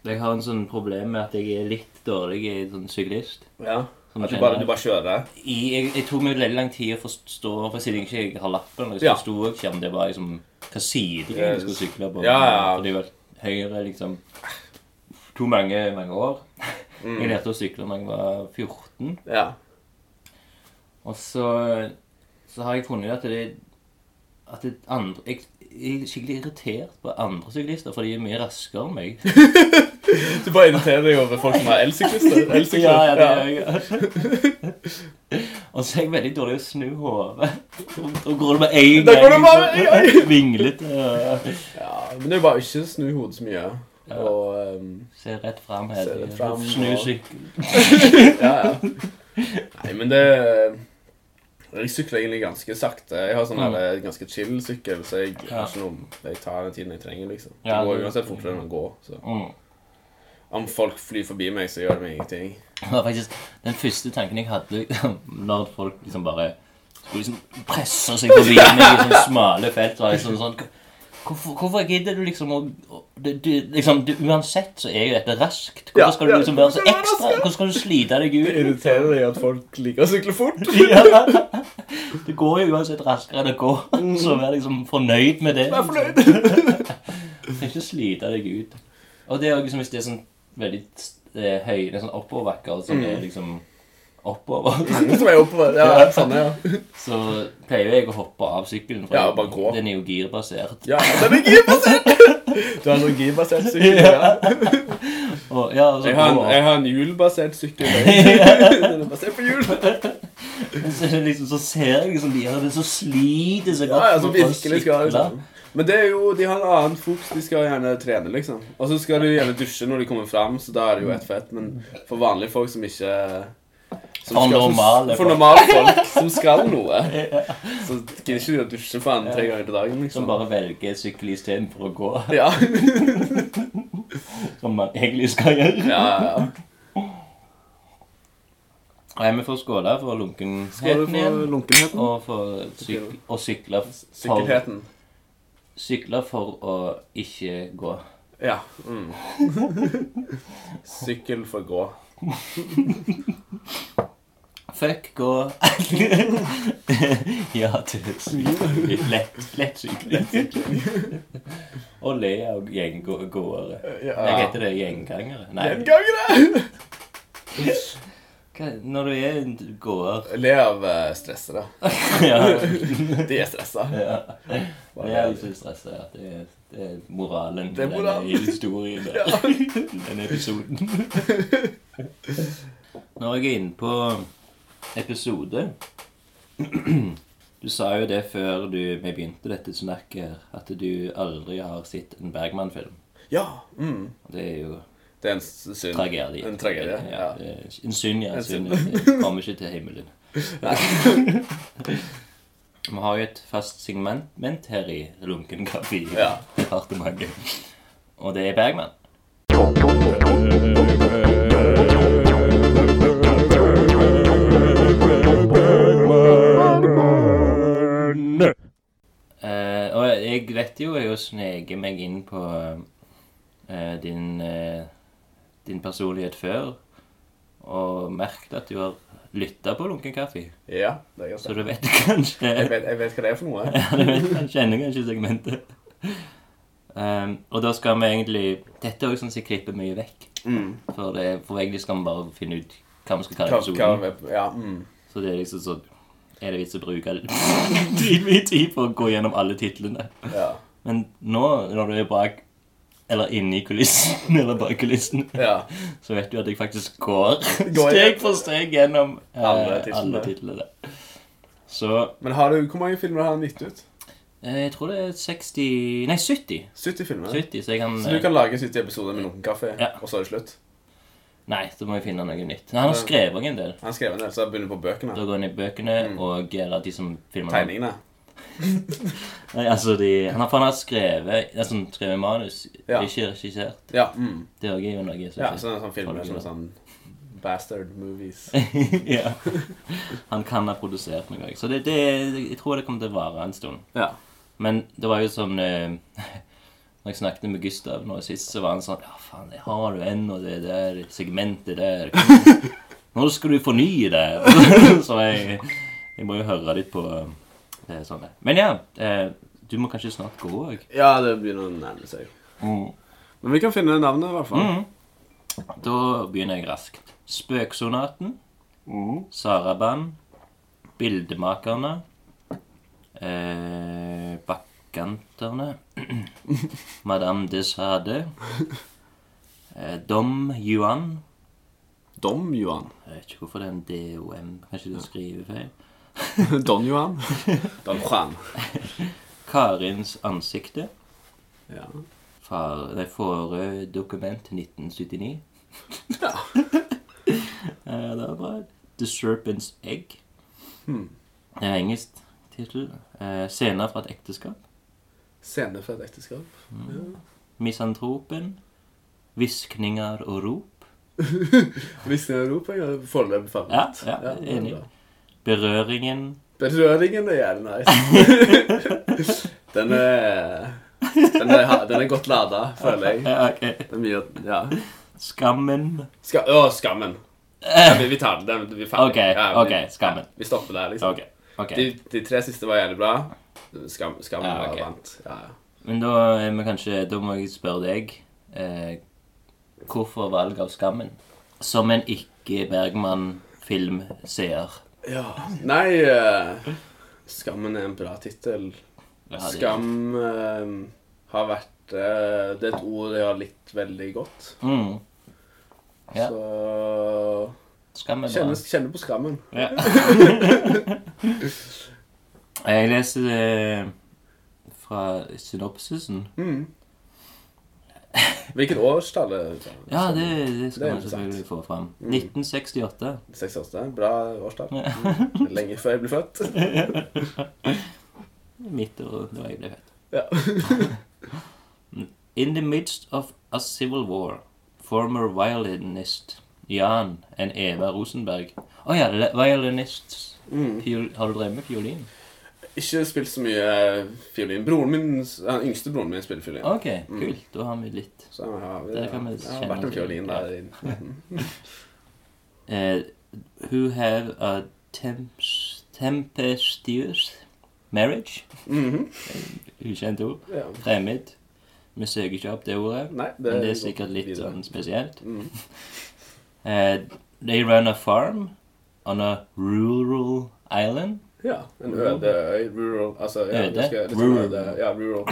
S2: Jeg har en sånn problem med at jeg er litt dårlig i sånn syklist.
S3: Ja.
S2: Som
S3: At du
S2: generelt.
S3: bare, du bare kjører.
S2: I, jeg, jeg tok meg veldig lang tid å forstå, for siden jeg ikke har lappen, og jeg
S3: Ja.
S2: forsto ikke om det var liksom, hva side jeg egentlig skulle sykle på.
S3: Ja, ja.
S2: Fordi jeg var høyre liksom to mange, mange år.
S3: Mm.
S2: Jeg lærte å sykle da jeg var 14.
S3: Ja.
S2: Og så, så har jeg funnet ut at det at det andre, jeg, jeg er skikkelig irritert på andre syklister, for de er mye raskere enn meg.
S3: Du bare irriterer deg over folk som har elsyklister.
S2: *laughs*
S3: Elsykler.
S2: Ja, ja, det gjør jeg. Og så er jeg *laughs* veldig dårlig å snu hodet. Da går det med en
S3: Da går det bare med en
S2: gang. Vinglete. og
S3: Ja, men det er bare ikke snu hodet så mye. Og ehm,
S2: Se rett fram
S3: Se
S2: hele
S3: rett
S2: tiden.
S3: frem,
S2: Snu
S3: og-
S2: sykkel.
S3: ja, ja. Nei, men det Jeg sykler egentlig ganske sakte. Jeg har sånn
S2: Mm.
S3: her, eh, ganske chill sykkel, så jeg
S2: Ja.
S3: har ikke noe Jeg tar den tiden jeg trenger, liksom. Det
S2: Ja,
S3: går
S2: det-
S3: uansett fortere enn å gå. Så.
S2: Mm.
S3: Om folk flyr forbi meg, så gjør det meg ingenting.
S2: Det var faktisk den første tanken jeg hadde liksom, når folk liksom bare skulle liksom presse seg forbi meg i sånne smale felt. Var liksom sånn, hvorfor, hvorfor gidder du liksom å å- du, du, liksom, du, Uansett så er jo dette raskt.
S3: Ja,
S2: Hvorfor skal du
S3: ja.
S2: liksom være så
S3: Hvorfor skal det være
S2: ekstra?
S3: raskere?
S2: Hvordan skal du slite deg ut?
S3: irriterer deg at folk liker å sykle fort. *laughs*
S2: Ja. Det går jo uansett raskere enn det går, så vær liksom fornøyd med det.
S3: Mm. Vær fornøyd.
S2: liksom. Ikke slite deg ut. Og det er jo liksom hvis det er sånn veldig eh, høy, det er sånn oppoverbakker
S3: Mm.
S2: som er liksom oppover, *laughs*
S3: Som er oppover. Ja, sånn, ja.
S2: så pleier jeg å hoppe av sykkelen. for
S3: Ja, bare gå.
S2: Den er jo girbasert.
S3: ja den er girbasert! Du har en sånn girbasert sykkel. Ja.
S2: Og, ja, og så
S3: Jeg har en,
S2: går-
S3: jeg har en hjulbasert sykkel. Den er basert på hjul.
S2: *laughs* så, er det liksom, så ser jeg liksom de her, det er så sliter seg
S3: Ja, ja,
S2: opp
S3: som
S2: for å
S3: virkelig skal
S2: sykle.
S3: liksom. Men det er jo, de har en annen fokus. De skal gjerne trene, liksom. Og så skal de gjerne dusje når de kommer fram, så da er det jo ett fett. Men for vanlige folk som ikke som
S2: For
S3: skal- som-
S2: normale
S3: for
S2: folk.
S3: normale folk som skal noe, så gidder ikke de å dusje for andre ganger til dagen,
S2: Som
S3: liksom.
S2: bare velger sykkel istedenfor å gå, *laughs*
S3: Ja,
S2: som man egentlig skal gjøre.
S3: ja, ja.
S2: Nei, vi får skåle for
S3: Skal du
S2: lunkenheten
S3: få
S2: igjen.
S3: lunkenheten?
S2: Og for syk og sykle for,
S3: Sikkerheten.
S2: sykle for å ikke gå.
S3: Ja. Mm. Sykkel for gå.
S2: Fuck, gå. *laughs* ja, det er sykelig. Lett, lett
S3: *laughs*
S2: sykelig. Og le av gjenggåere. Nei, Hva heter det? Gjenggangere? Nei,
S3: Gjengangere!
S2: hva, når du er en
S3: *laughs*
S2: gåer
S3: Le av eh, stresset, da.
S2: ja,
S3: De er stressa.
S2: ja.
S3: Bare-
S2: Det er jo så stresset at det er, det er moralen
S3: Det er moralen.
S2: i denne historien. Der. denne episoden. *laughs* Når jeg er inne på episode Du sa jo det før du, vi begynte dette snakket her, at du aldri har sett en Bergman-film.
S3: Ja. Mm.
S2: Det er jo
S3: Det er en s- synd.
S2: tragedie.
S3: En tragedie, ja.
S2: det er En synd, ja.
S3: En
S2: En synd.
S3: synd.
S2: Det kommer ikke til himmelen. Vi har jo et fast segment her i Lunken
S3: Ja.
S2: kaffe-departementet, og det er Bergman. Eh, og jeg vet jo jeg sneker meg inn på eh, din, eh, din personlighet før, og merket at du har lytta på Lunken kaffe.
S3: ja, det er ganske
S2: Så du vet *laughs* kanskje
S3: jeg vet, jeg vet hva det er for noe.
S2: Ja, du vet kanskje ennå kanskje segmentet. Ehm, og da skal vi egentlig Dette er også sånn som jeg klipper mye vekk. For, det, for egentlig skal vi bare finne ut hva vi skal kalle
S3: Mm. Hva, hva
S2: episoden.
S3: vi- ja, mm.
S2: Så det er liksom sånn Er det vits å bruke *laughs* tid- mye tid på å gå gjennom alle titlene?
S3: ja.
S2: Men nå, når du er bak eller inni kulissen, *laughs* eller bak kulissen,
S3: ja.
S2: så vet du at jeg faktisk går
S3: *laughs* Går
S2: steg for steg gjennom eh,
S3: Alle titlene.
S2: alle titlene. Så
S3: Men har du, hvor mange filmer har han gitt ut?
S2: eh, jeg tror det er 60 Nei, 70.
S3: 70 filmer.
S2: 70, så jeg kan,
S3: Så du kan lage 70 episoder med noen kaffe,
S2: Ja.
S3: og så er det slutt?
S2: eh, Nei, da må jeg finne noe nytt. Han har skrevet også en del.
S3: Han skrev en del, så jeg begynner på
S2: Da
S3: bøkene.
S2: går han i bøkene
S3: Mm.
S2: og eller de som filmer han.
S3: Tegningene.
S2: Nei, altså de, han, har, for han har skrevet altså, han har skrevet manus,
S3: Ja.
S2: ikke regissert.
S3: Ja, mm.
S2: Det er også jo noe. som-
S3: ja så det er sånn filmer
S2: Folk som-
S3: som er sånn Bastard movies.
S2: *laughs* ja. Han kan ha produsert noe også. Så det, det, jeg tror det kommer til å vare en stund.
S3: Ja.
S2: Men det *laughs* var jo sånn eh, Når jeg snakket med Gustav nå sist, så var han sånn Ja, faen, jeg har jo ennå det der segmentet der. *laughs* Når skal du fornye det? *laughs* så jeg, jeg må jo høre litt på eh, det sånne. Men ja, eh, du må kanskje snart gå òg.
S3: ja, det begynner å nærme seg. Men vi kan finne navnet, i hvert fall.
S2: Mm. Da begynner jeg raskt. Spøksonaten. Saraband. Bildemakerne. Eh, Bakkanterne. *clears throat* Madame Desade. Eh, Dom Yuan.
S3: Dom Johan. *laughs*
S2: Jeg vet ikke hvorfor det er en DOM. Kanskje du skriver feil?
S3: Don Johan. *laughs* Don Juan.
S2: Karins ansikte.
S3: Ja.
S2: Far, nei, Forø eh, dokument 1979.
S3: Ja.
S2: Eh, det er bra. The Serpent's Egg. Det er engelsk tittel. Eh, Scener fra et ekteskap.
S3: Scene fra et ekteskap.
S2: Misantropen. Hviskninger og rop.
S3: Hvis det er Europa, ja. Foreløpig
S2: Ja,
S3: favoritt.
S2: ja,
S3: det er
S2: enig.
S3: bra.
S2: Berøringen.
S3: Berøringen er jævlig nice.
S2: *laughs*
S3: den er den er, den er godt lada, føler jeg.
S2: Ja, ok.
S3: Det er mye, å- ja.
S2: Eh, Skammen.
S3: Ska, å, skammen. Ja, vi, vi tar den. den- Vi er ferdig.
S2: Eh. Ok,
S3: Ja, vi-
S2: ok, Skammen.
S3: Vi stopper der, liksom.
S2: Ok. ok.
S3: De, de tre siste var jævlig bra. Skam,
S2: Ja,
S3: skammen
S2: ok.
S3: var vant. Ja, ja.
S2: Men da er vi kanskje Da må jeg spørre deg eh, Hvorfor valg av skammen? Som en ikke-Bergman-filmseer.
S3: Ja. Nei eh, Skammen er en bra tittel.
S2: Ja, det-
S3: Skam eh, har vært eh, Det er et ord jeg har likt veldig godt.
S2: Mm. Ja.
S3: Så
S2: Skam er bra.
S3: kjenner, kjenner på skammen.
S2: Ja. jeg leser det fra synopsisen.
S3: Mm. Hvilket årstall er det?
S2: Ja, det, det skal
S3: Det er
S2: man selvfølgelig
S3: interessant. Mm.
S2: få fram. 1968.
S3: 68. Bra årstall. Mm. Lenge før jeg ble født.
S2: Midt og da jeg ble født.
S3: Ja.
S2: *laughs* In the midst of a civil war, former violinist Jan enn Eva Rosenberg. Å ja, le- violinist. Fiol, har du drevet med fiolin?
S3: Ikke spilt så mye eh, fiolin. Broren min, ja, den yngste broren min spiller fiolin.
S2: Ok, kult. Da har vi litt.
S3: Så jeg har,
S2: Det kan vi
S3: jeg har
S2: kjenne
S3: vært en
S2: til.
S3: fiolin der. i-
S2: Eh, who have a temps, tempestuous marriage?
S3: Mhm.
S2: Ukjent ord.
S3: Ja.
S2: Fremmed. Vi søker ikke opp det ordet.
S3: Nei, det,
S2: Men det er
S3: går
S2: sikkert litt
S3: videre.
S2: sånn spesielt.
S3: Mm.
S2: *laughs* Eh, they run a farm on a rural island.
S3: Ja. En øde øy. Rural. Altså, ja,
S2: Øde?
S3: det Skal, litt sånn
S2: Rural.
S3: øde. Ja, rural.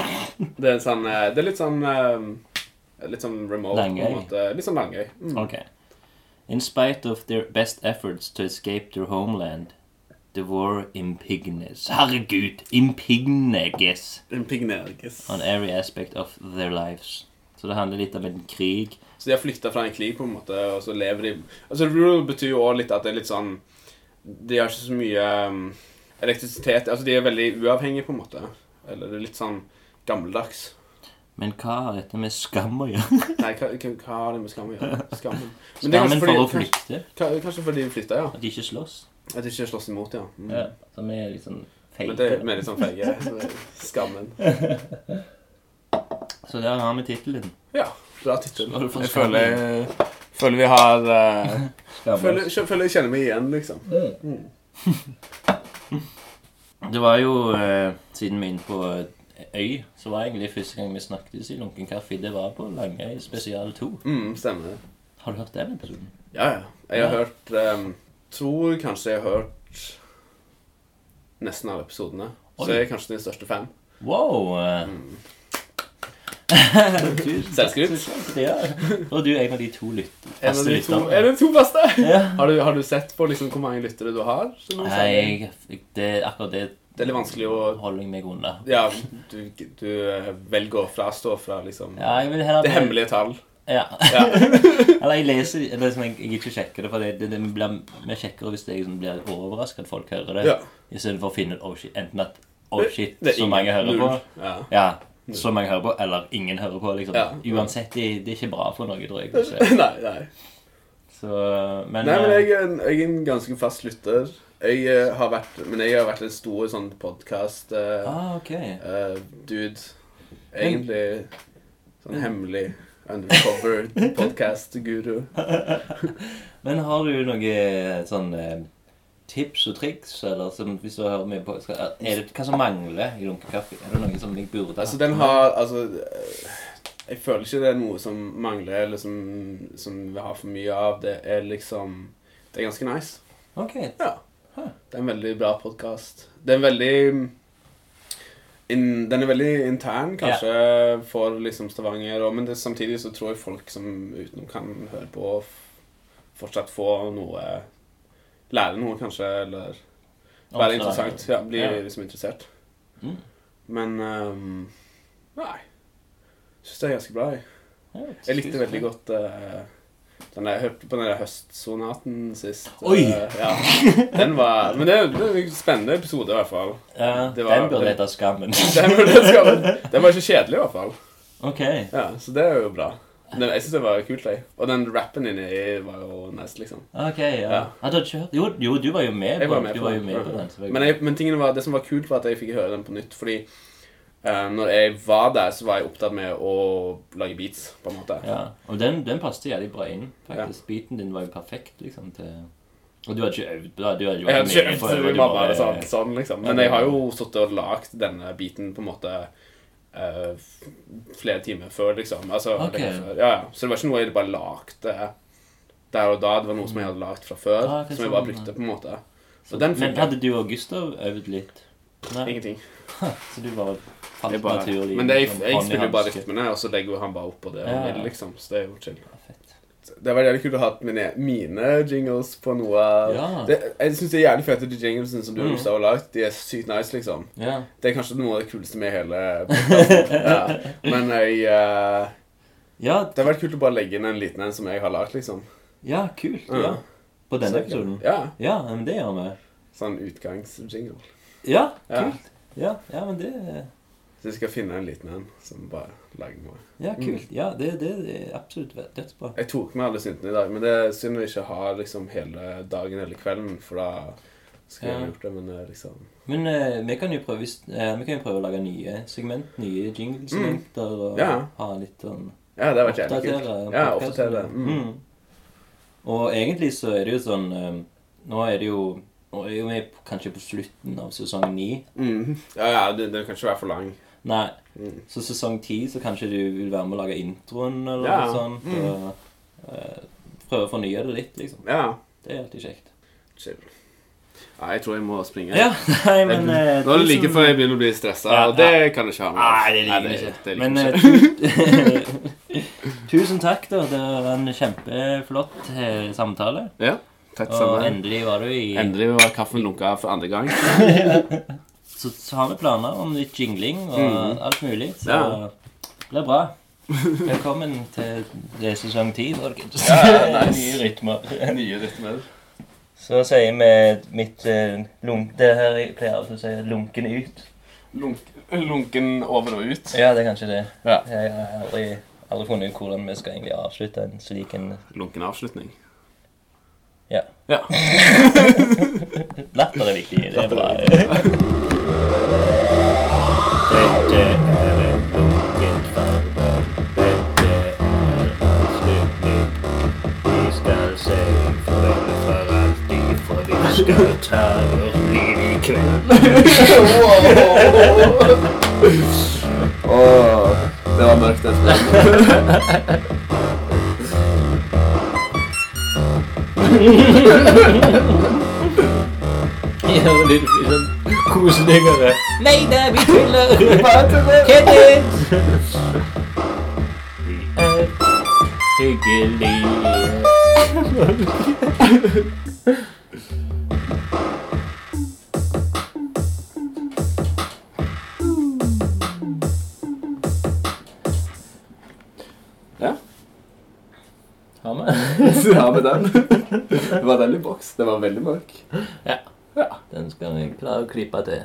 S3: Det er, sånn, eh, det er litt sånn eh, Litt sånn remote, på en
S2: Langøy.
S3: måte. Litt sånn langøy. Mm.
S2: Okay. In spite of their best efforts to escape their homeland, the war impignes. Herregud! Impignes
S3: En pignergis.
S2: on every aspect of their lives. Så det handler litt om en krig.
S3: Så de har flytta fra en krig, på en måte, og så lever de Altså, Rural betyr jo òg litt at det er litt sånn De har ikke så mye um, elektrisitet Altså, de er veldig uavhengige, på en måte. Eller det er litt sånn gammeldags.
S2: Men hva har dette med skam å gjøre?
S3: Nei, hva, hva, hva har det med skam å gjøre? Skammen. Men det er kanskje
S2: Skammen for å
S3: fordi-
S2: flykte?
S3: Kanskje, kanskje fordi de flytta, ja.
S2: At de ikke slåss?
S3: At de ikke slåss imot, ja. Mm.
S2: Ja, som er litt sånn
S3: Men det er
S2: feite.
S3: mer litt sånn feige. så det er Skammen.
S2: Så der har vi tittelen.
S3: Ja. Bra tittel.
S2: Så var det for
S3: Jeg
S2: skammen.
S3: føler, føler vi har eh,
S2: Skammen.
S3: føler, føler jeg kjenner meg igjen, liksom.
S2: Det var jo, eh, siden vi er inne på eh, øy, så var egentlig første gang vi snakket i Lunken Kaffe, det var på Langøy Spesial 2.
S3: Mm, stemmer det.
S2: Har du hørt den episoden?
S3: Ja, ja. Jeg har hørt um, Tror kanskje jeg har hørt nesten alle episodene.
S2: Oi.
S3: Så jeg er kanskje din største fan.
S2: Wow! eh. Tusen takk.
S3: Selvskryt.
S2: Ja. Og du er en av de to lytt-
S3: En av
S2: faste
S3: de to,
S2: lytterne.
S3: er det to beste?
S2: Ja.
S3: *laughs* Har, du, har du sett på liksom hvor mange lyttere du har? som du
S2: Nei,
S3: sier?
S2: jeg, jeg- det, akkurat det
S3: Det er litt vanskelig å
S2: holder jeg meg unna.
S3: Ja, du, du eh, velger å frastå fra liksom
S2: Ja, jeg vil heller...
S3: det hemmelige tall.
S2: Ja.
S3: Ja.
S2: *laughs* Eller jeg leser eller liksom, jeg, jeg ikke sjekker det, for det, det, det vi blir vi sjekker hvis det liksom, blir overrasket at folk hører det.
S3: Ja.
S2: I stedet for å finne ut oh, shit, enten at oh, shit,
S3: Det er
S2: så
S3: ingen-
S2: mange hører på,
S3: null. Ja. *laughs*
S2: ja, så mange hører på, eller ingen hører på. liksom.
S3: Ja.
S2: Uansett, det, det er ikke bra for noe, tror jeg. kanskje.
S3: Nei, nei.
S2: Så, men,
S3: Nei, men
S2: eh,
S3: jeg er, en, jeg er en ganske fast lytter. Jeg eh, har vært, men jeg har vært en stor sånn podkast eh,
S2: ah, ok.
S3: Eh, dude, egentlig sånn hemmelig
S2: *laughs*
S3: undercover podcast-guru.
S2: Men har du noe sånn eh, tips og triks, eller som, hvis du hører med på skal, eh, er det, Hva som mangler i lunkekaffe? Er det noe som jeg burde
S3: Altså, den har Altså eh, Jeg føler ikke det er noe som mangler, eller som, som vi har for mye av. Det er liksom Det er ganske nice.
S2: Ok.
S3: Ja. Det er en veldig bra podkast. Det er en veldig in, Den er veldig intern, kanskje, for liksom Stavanger. Og, men det, samtidig så tror jeg folk som utenom kan høre på, f- fortsatt få noe Lære noe, kanskje, eller være interessant. Ja, bli
S2: Ja.
S3: liksom interessert.
S2: Mm.
S3: Men ehm, Nei. Syns det er ganske bra, jeg.
S2: Ja,
S3: *laughs* Jeg likte veldig godt eh, den der, jeg hørte på den der høstsonaten sist.
S2: Oi!
S3: Eh, ja. Den var Men det det er en spennende episode, i hvert fall.
S2: Ja,
S3: Det var-
S2: den burde hete Skammen.
S3: *laughs* Den var, den skal, den var ikke kjedelig, i hvert fall.
S2: ok.
S3: Ja, Så det er jo bra. Men jeg syns det var kult. Jeg. Og den rappen inni var jo nice, liksom.
S2: ok, ja.
S3: Ja.
S2: Ah, du hadde ikke hørt? Jo, jo, du var jo med
S3: Jeg
S2: på,
S3: var med
S2: du
S3: på
S2: var jo
S3: den.
S2: med på
S3: Ja.
S2: den. selvfølgelig.
S3: Men, jeg, men tingen var, det som var kult, var at jeg fikk høre den på nytt. Fordi eh, når jeg var der, så var jeg opptatt med å lage beats, på en måte.
S2: Ja, og den, den passet jævlig bra inn, faktisk. Beaten din var jo perfekt, liksom, til... Og du hadde ikke øvd på det, du hadde jo
S3: Jeg
S2: vært
S3: hadde
S2: med
S3: ikke
S2: på
S3: øvd
S2: det,
S3: til
S2: du
S3: mamma
S2: bare-
S3: eller sånn, sånn, liksom. Men jeg har jo sittet og lagd denne biten på en måte eh, f- flere timer før, liksom. Altså,
S2: Ok.
S3: lenge før. Ja, ja. Så det var ikke noe jeg bare lagde der og da. Det var noe som jeg hadde lagd fra før,
S2: Ah, det er
S3: som jeg bare
S2: sånn,
S3: brukte, på en måte. Så den
S2: Men
S3: fikk
S2: hadde du og Gustav øvd litt? Nei,
S3: ingenting.
S2: så du bare falt
S3: Jeg bare,
S2: naturlig.
S3: men det, jeg,
S2: liksom,
S3: jeg
S2: hånd i
S3: spiller jo bare
S2: hanske.
S3: rytmene, og så legger jo han bare oppå det han
S2: Ja.
S3: vil, liksom. Så det er jo chill.
S2: Ja, fett.
S3: Det var jævlig kult å ha hatt mine, mine jingles på noe
S2: Ja. Mm.
S3: det, Jeg syns det er jævlig fete de jinglesene som du og Gustav har lagd. De er sykt nice, liksom.
S2: Ja.
S3: Det er kanskje noe av det kuleste med hele
S2: *laughs*
S3: podcasten. ja. Men jeg, eh,
S2: Ja,
S3: det har vært kult å bare legge inn en liten en som jeg har lagd, liksom.
S2: ja, kult,
S3: Ja.
S2: ja. På
S3: Så-
S2: denne episoden?
S3: Ja.
S2: Ja, men det gjør vi.
S3: Sånn utgangsjingle.
S2: Ja,
S3: Ja.
S2: kult. Ja, ja men det
S3: Så vi skal finne en liten en som bare lager noe.
S2: Ja, kult.
S3: Mm.
S2: Ja, det, det, det er absolutt dødsbra.
S3: Jeg tok med alle syntene i dag, men det er synd vi ikke har liksom hele dagen eller kvelden, for da skulle jeg
S2: Ja.
S3: ha gjort det, men eh, liksom
S2: Men eh, vi, kan jo prøve, hvis- eh, vi kan jo prøve å lage nye segment, nye jingle-segmenter, og
S3: Mm. Ja.
S2: ha litt sånn
S3: Ja, det har vært jævlig
S2: Oppdatere
S3: kult. Ja,
S2: podcasten.
S3: oppdatere. Mm.
S2: Mm. Og egentlig så er det jo sånn eh, Nå er det jo Nå er jo vi på- kanskje på slutten av sesong ni.
S3: Mm. Ja, ja, det- den kan ikke være for lang.
S2: Nei,
S3: Mm.
S2: så sesong ti så kanskje du vil være med å lage introen eller
S3: Ja.
S2: noe
S3: Mm.
S2: sånt. Og, eh, prøve å fornye det litt, liksom.
S3: Ja,
S2: Det er alltid kjekt.
S3: chill. Ja, jeg tror jeg må springe.
S2: Ja, *laughs* nei, men eh,
S3: Nå er liksom- det
S2: tusen-
S3: like før jeg begynner å bli stressa,
S2: Ja,
S3: og det kan jeg ikke ha med.
S2: Nei, det liker vi
S3: Nei,
S2: ikke.
S3: det liker
S2: Men
S3: jeg
S2: eh,
S3: ikke.
S2: *laughs* tu- tusen takk, da. Det var en kjempeflott eh, samtale.
S3: Ja, takk
S2: Og
S3: sammen.
S2: endelig var du i
S3: Endelig var kaffen lunka for andre gang.
S2: så, så har vi planer om litt jingling og alt mulig. Så
S3: Ja.
S2: det blir *laughs* bra. Velkommen til det er sesong ti, folkens. *laughs* Nye rytmer.
S3: *laughs* Nye rytmer.
S2: Så sier vi mitt eh, lunk... Det her jeg pleier alltid å si lunken ut.
S3: lunken over og ut.
S2: Ja, det er kanskje det.
S3: Ja.
S2: Jeg har aldri, aldri funnet ut hvordan vi skal egentlig avslutte en slik en
S3: Lunken avslutning.
S2: Ja.
S3: Ja.
S2: Latter er viktig. Det er bra. Dette er en lunken farbar. Dette er avslutning. Vi skal si farvel for alltid, for vi skal ta vårt liv i kveld.
S3: det var mørkt etterpå.
S2: Gjør det litt sånn koseligere. Nei da, vi *laughs* tuller! Kenneth! Vi er hyggelige.
S3: *laughs* Ja.
S2: Har vi?
S3: Så har vi den. *laughs* Det var den i boks. Den var veldig mørk.
S2: Den skal vi klare å klippe til.